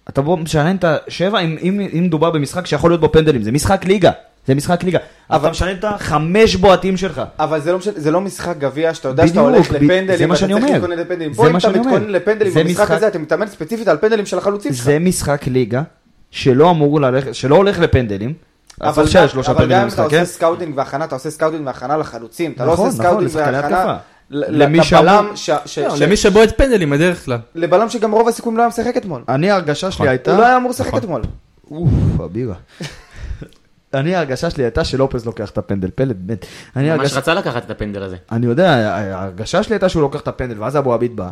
אתה בוא משנה את השבע, אם- אם אם מדובר במשחק שיכול להיות בו פנדלים, זה משחק ליגה, זה משחק ליגה. אבל אתה משנה את אה. החמש בועטים שלך. אבל זה לא, משנה, זה לא משחק גביע שאתה יודע שאתה בדיוק, הולך ב- לפנדלים, זה מה ואתה שאני צריך אומר. להתכונן לפנדלים. זה פה אם מה אתה שאני אומר. מתכונן לפנדלים זה במשחק משחק- הזה, אתה מתאמן ספציפית על פנדלים של החלוצים שלך. זה משחק ליגה שלא אמור ללכת, שלא הולך לפנדלים. אז אבל עכשיו גם- יש שלושה אבל פנדלים גם אם אתה במשחק, עושה כן? סקאוטינג והכנה, אתה עושה סקאוטינג והכנה לחלוצים, אתה לא נכון, עושה נכון, סקאוטינג לשחקני והכנה התקפה. ל- למי לבלם שאמור- ש- ש- לא, ש- למי שבועט פנדלים בדרך כלל. לבלם שגם רוב הסיכויים לא היה משחק אתמול. אני, ההרגשה שלי הוא הייתה, לא היה אמור לשחק נכון. אתמול. אוף, הבירה. אני, ההרגשה שלי הייתה שלופז לוקח את הפנדל, פלד, באמת. אני, ממש הרגש... רצה לקחת את הפנדל הזה. אני יודע, ההרגשה שלי הייתה שהוא לוקח את הפנדל, ואז אבו עביד בא,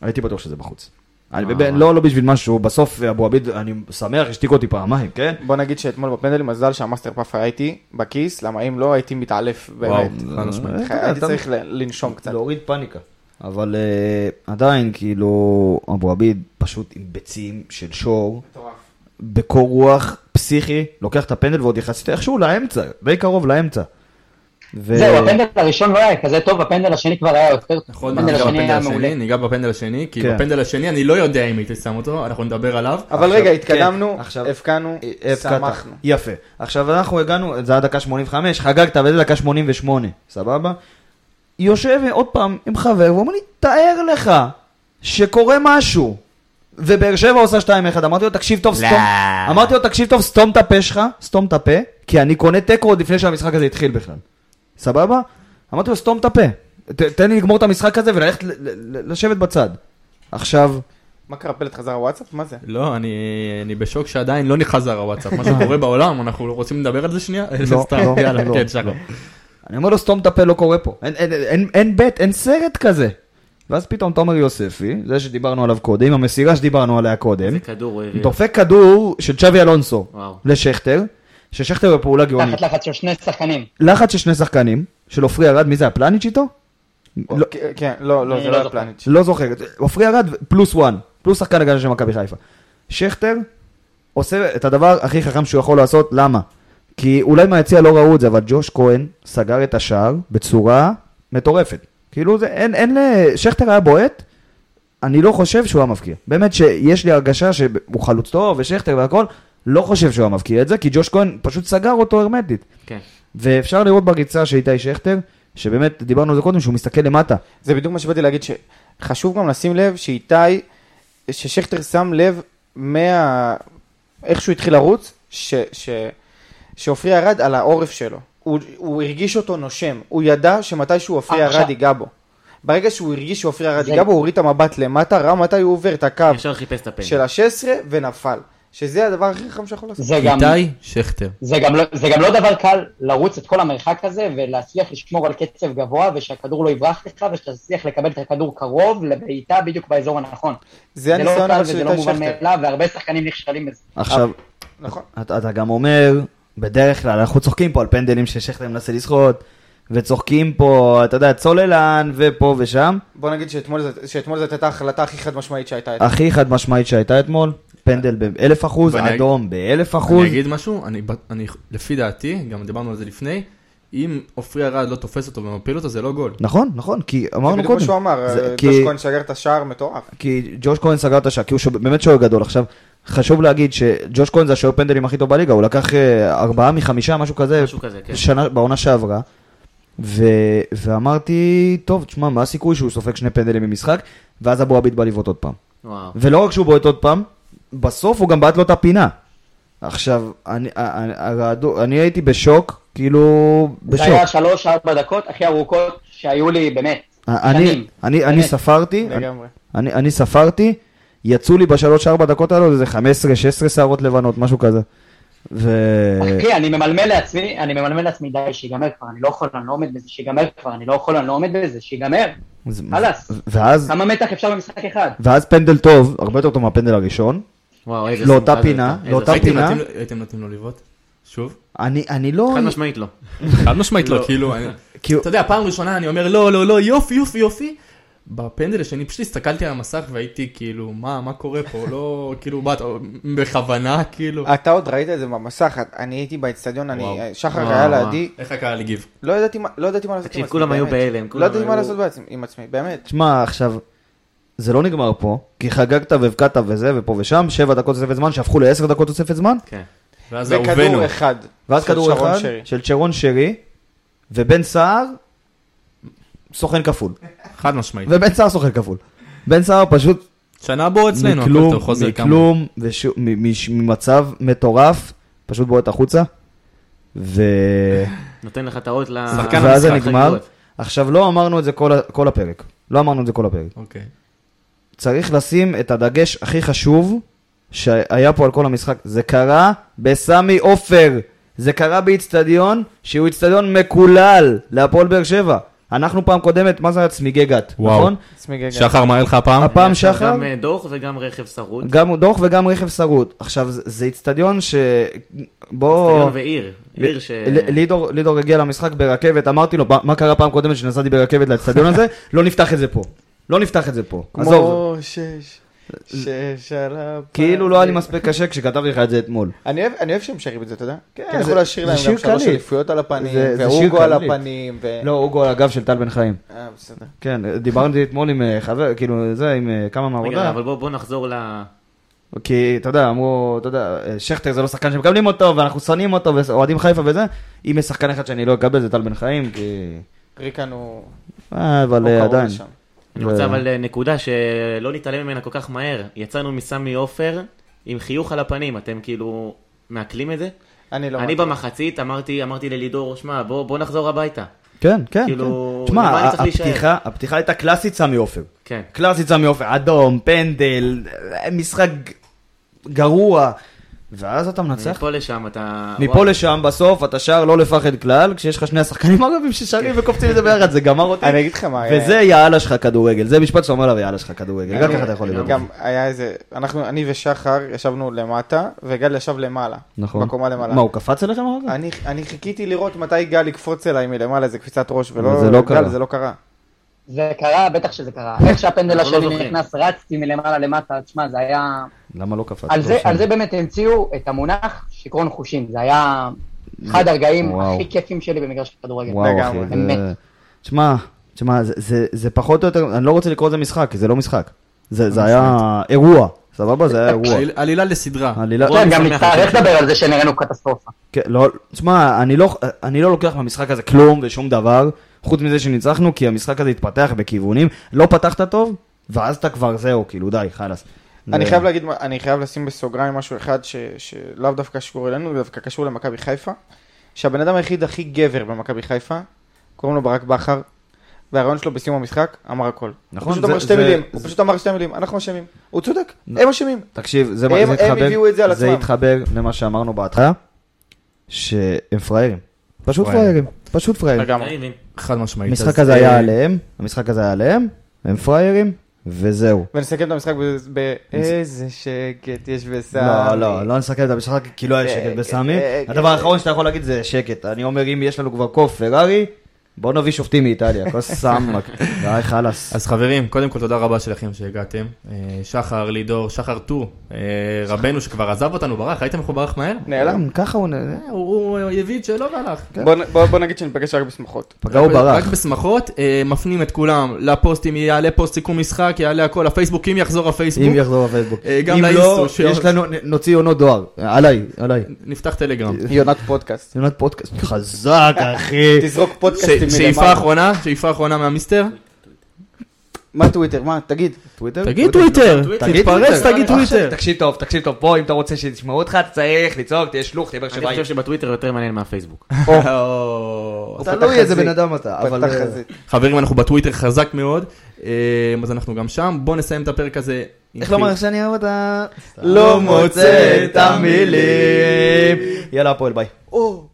הייתי בטוח שזה בחוץ. אני, אה. באמת, לא, לא בשביל משהו, בסוף אבו עביד, אני שמח, השתיק אותי פעמיים, כן? בוא נגיד שאתמול בפנדלים מזל שהמאסטר פאף היה איתי בכיס, למה אם לא הייתי מתעלף באמת. חד משמעית. הייתי אתה לא. יודע, אתה- צריך ל- לנשום קצת. להוריד פאניקה. אבל uh, עדיין, כאילו, אבו עביד פשוט עם ביצים של שור, בקור רוח פסיכי, לוקח את הפנדל ועוד יחסית איכשהו לאמצע, די קרוב לאמצע. ו... זהו, הפנדל הראשון לא היה כזה טוב, הפנדל השני כבר היה יותר טוב. נכון, הפנדל ניגע השני בפנדל היה מעולה. השני, ניגע בפנדל השני, כי כן. בפנדל השני אני לא יודע אם הייתי שם אותו, אנחנו נדבר עליו. אבל רגע, כן, התקדמנו, עכשיו- אה, הבקענו, הבקעת. שמחנו. יפה. עכשיו אנחנו הגענו, זה היה דקה 85, חגגת, וזה דקה 88, סבבה? יושב עוד פעם עם חבר ואומר לי, תאר לך שקורה משהו. ובאר שבע עושה 2-1, אמרתי לו, תקשיב טוב, סתום. אמרתי לו, תקשיב טוב, סתום את הפה שלך, סתום את הפה, כי אני קונה תיקו עוד לפני שהמשחק הזה התחיל בכלל. סבבה? אמרתי לו, סתום את הפה. ת- תן לי לגמור את המשחק הזה וללכת ל- ל- ל- לשבת בצד. עכשיו, מה קרה, פלט חזר הוואטסאפ? מה זה? לא, אני אני בשוק שעדיין לא נחזר הוואטסאפ, מה שקורה בעולם, אנחנו רוצים לדבר על זה שנייה? לא, סתם, לא, יאללה, לא, כן, שחר. אני אומר לו, סתום את הפה, לא קורה פה. אין, אין, אין, אין בית, אין סרט כזה. ואז פתאום תומר יוספי, זה שדיברנו עליו קודם, המסירה שדיברנו עליה קודם, זה כדור אה, הוא הביא. דופק כדור של צ'אבי אלונסו וואו. לשכטר, ששכטר בפעולה גאונית. תחת לחץ של שני שחקנים. לחץ של שני שחקנים, של עופרי ארד, מי זה, הפלניץ' איתו? לא, כן, כן, לא, לא, אני זה לא לא היה זוכר. פלניץ'. לא זוכר, עופרי ארד פלוס וואן, פלוס שחקן הגנה של מכבי חיפה. שכטר עושה את הדבר הכי חכם שהוא יכול לעשות, למה? כי אולי מהיציע לא ראו את זה, אבל ג'וש כהן סגר את השער בצורה מטורפת. כאילו זה, אין, אין ל... שכטר היה בועט, אני לא חושב שהוא היה מבקיע. באמת שיש לי הרגשה שהוא חלוץ טוב ושכטר והכל, לא חושב שהוא היה מבקיע את זה, כי ג'וש כהן פשוט סגר אותו הרמטית. כן. ואפשר לראות בריצה של איתי שכטר, שבאמת דיברנו על זה קודם, שהוא מסתכל למטה. זה בדיוק מה שבאתי להגיד, שחשוב גם לשים לב שאיתי, ששכטר שם לב מה... איך שהוא התחיל לרוץ, ש... ש... שעופרי ירד על העורף שלו. הוא, הוא הרגיש אותו נושם, הוא ידע שמתישהו עופרי אה, עכשיו- ירד ייגע בו. ברגע שהוא הרגיש שעופרי ירד זה- ייגע בו, הוא הוריד את המבט למטה, ראה מתי הוא עובר את הקו ישר חיפש את הפנדל. של ה-16 ונפל. שזה הדבר הכי חכם שיכול לעשות. זה גם... איתי שכטר. זה גם, לא, זה גם לא דבר קל לרוץ את כל המרחק הזה ולהצליח לשמור על קצב גבוה ושהכדור לא יברח לך ושתצליח לקבל את הכדור קרוב לבעיטה בדיוק באזור הנכון. זה זה לא הניסיון קל אבל וזה של לא איתי מובן שכטר. מאליו והרבה שחקנים נכשלים בזה. עכשיו, נכון. אתה, אתה גם אומר, בדרך כלל אנחנו צוחקים פה על פנדלים ששכטר מנסה לסחוט, וצוחקים פה, אתה יודע, צוללן, ופה ושם. בוא נגיד שאתמול זה- שאתמול זאת הייתה ההחלטה הכי חד משמעית שהייתה. הכי חד משמעית שהייתה אתמול, פנדל באלף אחוז, ואני- אדום באלף אחוז. אני אגיד משהו, אני, ב- אני, לפי דעתי, גם דיברנו על זה לפני, אם עופרי ארד לא תופס אותו ומפיל אותו, זה לא גול. נכון, נכון, כי זה אמרנו בדיוק מה קודם. שהוא אמר, זה- אה, כי- ג'וש כהן שגר את השער מטורף. כי ג'וש כהן סגר את השער, כי הוא שוב- באמת שוער גדול. עכשיו, חשוב להגיד שג'וש כהן זה השוער פנדלים הכי טוב בליגה, הוא לקח אה, ארבעה מחמישה, משהו כזה, משהו כזה, כן. שנה, בעונה שעברה. ו... ואמרתי, טוב, תשמע, מה הסיכוי שהוא סופג שני פנדלים במשחק? ואז אבו עביד בא לבעוט עוד פעם. אוקיי. וואו. ולא רק שהוא בועט עוד פעם, בסוף הוא גם בעט לו את הפינה. עכשיו, אני, אני, הרעדו- אני הייתי בשוק, כאילו, זה בשוק. היה שלוש ארבע דקות הכי ארוכות שהיו לי באמת. אה, אני, שנים. אני, אני באמת. ספרתי, אני- לגמרי. אני, אני ספרתי, יצאו לי בשלוש ארבע דקות האלו איזה 15-16 שערות לבנות, משהו כזה. ו... אחי, אני ממלמל לעצמי, אני ממלמל לעצמי, די, שיגמר כבר, אני לא יכול, אני לא עומד בזה, שיגמר כבר, אני לא יכול, אני לא עומד בזה, שיגמר. זה- חלאס. ואז, כמה מתח אפשר במשחק אחד? ואז פנדל טוב, הרבה יותר טוב מהפנדל הראשון. וואו, איזה לאותה שמחה זה פינה, הייתה. איזה לאותה שמחה. הייתם פינה? נותנים לו- הייתם נותנים לו לבעוט? שוב? אני, אני לא... חד משמעית לא. חד משמעית לא, כאילו, אני- כאילו- אתה יודע, פעם ראשונה אני אומר לא, לא, לא, יופי, יופי, יופי. בפנדל השני פשוט הסתכלתי על המסך והייתי כאילו, מה, מה קורה פה? לא, כאילו, מה, אתה- בכוונה, כאילו. אה, אתה עוד ראית את זה במסך, את- אני הייתי באצטדיון, וואו. אני, שחר וואו, היה וואו. לידי, איך הקהל הגיב? לא ידעתי מה לא ידעתי מה לעשות עם עצמי, תקשיב, כולם היו באמת. בהלם, כולם לא ידעתי מה היו- לעשות בעצמי- עם עצמי, באמת. תשמע, עכשיו, זה לא נגמר פה, כי חגגת והבקעת וזה ופה ושם, שבע דקות תוספת זמן שהפכו לעשר דקות תוספת זמן, כן. ואז וכדור אהובנו. אחד. ואז של כדור שרון אחד שרי. של צ'רון שרי, ובן סער, סוכן כפול. חד משמעית. ובן סער סוכן כפול. בן סער פשוט שנה בו אצלנו, הכל מכלום, טוב, חוזר כמה. מכלום, וש- מ- מש- ממצב מטורף, פשוט בועט החוצה, ו... נותן לך את האות ל... שחקן למשחק ואז זה נגמר. חגיגות. עכשיו, לא אמרנו את זה כל ה- כל הפרק. לא אמרנו את זה כל הפרק. אוקיי. צריך לשים את הדגש הכי חשוב שהיה פה על כל המשחק. זה קרה בסמי עופר. זה קרה באיצטדיון שהוא איצטדיון מקולל להפועל באר שבע. אנחנו פעם קודמת, מה זה היה? צמיגי גת, וואו. נכון? צמיגי גג. שחר, מה היה לך הפעם? הפעם יש לך שחר, גם אה, דוח וגם רכב שרוט. גם דוח וגם רכב שרוט. עכשיו, זה- זה איצטדיון ש... בוא... סטדיון ועיר. עיר ש... לא. ל- לידור, לידור הגיע למשחק ברכבת, אמרתי לו, "מה- מה קרה פעם קודמת שנסעתי ברכבת לאצטדיון הזה? לא נפתח את זה פה. לא נפתח את זה פה. עזוב. כמו שש, שש על הפעם. כאילו אה, לא היה לי מספיק קשה כשכתבתי לך את זה אתמול. אני אוהב- אני אוהב שהם שרים את זה, אתה יודע? כן, זה- אני יכול לשיר זה להם שיר גם שלוש קליט. אליפויות על הפנים, זה- זה שיר והוגו על קליט. הפנים, ו... כן. לא, אוגו על הגב של טל בן חיים. אה, בסדר. כן, דיברתי אתמול עם אה, חבר, כאילו, זה, עם אה, כמה רגע, מהעבודה. אבל בוא בוא נחזור ל... כי, אתה יודע, אמרו, אתה יודע, אה, שכטר זה לא שחקן שמקבלים אותו, ואנחנו שונאים אותו, ואוהדים חיפה וזה. אם יש שחקן אחד שאני לא אקבל זה טל בן חיים, כי... ריקן הוא... אה, אבל לא הוא אה, קרוב עדיין. לשם. אני ו- רוצה אבל אה, נקודה שלא נתעלם ממנה כל כך מהר. יצאנו מסמי עופר עם חיוך על הפנים, אתם כאילו מעכלים את זה? אני לא... אני במחצית אמרתי אמרתי ללידור, שמע, בוא בוא נחזור הביתה. כן, כן. כאילו, כן. תשמע, למה אני צריך להישאר? הפתיחה, הפתיחה הייתה קלאסית סמי עופר. כן. קלאסית סמי עופר, אדום, פנדל, אה, משחק גרוע. ואז אתה מנצח. מפה לשם אתה... מפה וואו. לשם, בסוף אתה שר לא לפחד כלל, כשיש לך שני השחקנים הערבים ששרים וקופצים את זה ביחד, זה גמר אותי. כן. אני אגיד לך מה היה. וזה יאללה שלך כדורגל, זה משפט שאתה אומר לה ויאללה שלך כדורגל, רק אני- ככה אתה יכול לראות. גם היה איזה... אנחנו, אני ושחר ישבנו למטה, וגל ישב למעלה. נכון. בקומה למעלה. מה, הוא קפץ אליכם אחר כך? אני, אני חיכיתי לראות מתי גל יקפוץ אליי מלמעלה, איזה קפיצת ראש, ולא... זה לא גל, קרה. זה לא קרה. זה קרה, בטח שזה קרה. איך שהפנדל אנחנו לא השני זוכרים. נכנס, רצתי מלמעלה למטה, תשמע, זה היה... למה לא קפץ? על זה, טוב, על זה שם. באמת המציאו את המונח שיכרון חושים, זה היה אחד הרגעים וואו. הכי כיפים שלי במגרש כדורגל. וואו, אחי, לגמרי. זה- באמת. תשמע, תשמע, זה- זה- זה פחות או יותר, אני לא רוצה לקרוא לזה משחק, כי זה לא משחק. זה זה היה אירוע, סבבה? זה היה אירוע. עליל- עלילה לסדרה. עלילה- בוא, כן, אני גם שמח נצטרך על זה. לדבר על זה שנראינו קטסטרופה. כן, לא, תשמע, אני לא, אני לא לוקח מהמשחק הזה כלום ושום דבר, חוץ מזה שניצחנו, כי המשחק הזה התפתח בכיוונים, לא פתחת טוב, ואז אתה כבר זהו, כאילו די, חלאס. אני זה- חייב להגיד, מה- אני חייב לשים בסוגריים משהו אחד ש, שלאו דווקא שקורה לנו, הוא דווקא קשור למכבי חיפה, שהבן אדם היחיד הכי גבר במכבי חיפה, קוראים לו ברק בכר, והרעיון שלו בסיום המשחק אמר הכל. נכון, הוא פשוט זה- אמר זה- שתי מילים, זה- הוא פשוט אמר שתי מילים, אנחנו אשמים. הוא צודק, הם אשמים. תקשיב, זה, הם- זה הם התחבר, הביאו את זה על זה עצמם. התחבר למה שאמרנו בהתחלה, שהם פראיירים. פשוט פראיירים. פראיירים, פשוט פראיירים. אני מבין. חד משמעית. המשחק אז, הזה אה, היה עליהם, המשחק הזה היה עליהם, הם פראיירים, וזהו. ונסכם את המשחק ב- ב... איזה שקט יש בסמי. לא, לא, לא נסכם את המשחק כי לא היה שקט בסמי. אה, הדבר האחרון שאתה יכול להגיד זה שקט. אני אומר, אם יש לנו כבר קוף פרארי, בוא נביא שופטים מאיטליה. כוס סמק. די, חלאס. אז חברים, קודם כל תודה רבה שלכם שהגעתם. אה, שחר, לידור, שחר טור, אה, רבנו שכבר עזב אותנו, ברח, ראיתם איך הוא ברח מהר? נעלם. ככה הוא... נ- אה, הוא הוא הביא את שלו והלך. בוא נ- בוא בוא נגיד שניפגש רק בשמחות. לא, פגע הוא ברח. רק בשמחות, אה, מפנים את כולם לפוסטים, יעלה פוסט סיכום משחק, יעלה הכל, הפייסבוק, אם יחזור אם הפייסבוק, יחזור בפייסבוק. אה, גם אם לא, לאינסטו, ש- יש לנו... נ- נוציא עונות דואר. עליי, עליי. נפתח טלגרם. יונת פודקאסט. עונת פודקאסט. חזק, אחי. תזרוק ש- פודקאסטים שאיפה אחרונה, שאיפה אחרונה מהמיסטר? מה טוויטר? מה? תגיד. טוויטר? תגיד טוויטר, תגיד אה, תתפרץ, תגיד טוויטר. תקשיב טוב, תקשיב טוב, פה אם אתה רוצה שישמעו אותך, אתה צריך לצעוק, תהיה שלוח, תהיה באר אני שבעי. חושב שבטוויטר יותר מעניין מהפייסבוק. או, תלוי לא איזה בן חזית. אדם אתה. אבל... אה, פתח חזית. חברים, אנחנו בטוויטר חזק מאוד, אה, אז אנחנו גם שם. בואו נסיים את הפרק הזה. עם איך חיוך. לומר איך שאני אוהב לא אותה? לא מוצא את המילים. יאללה, הפועל, ביי. או,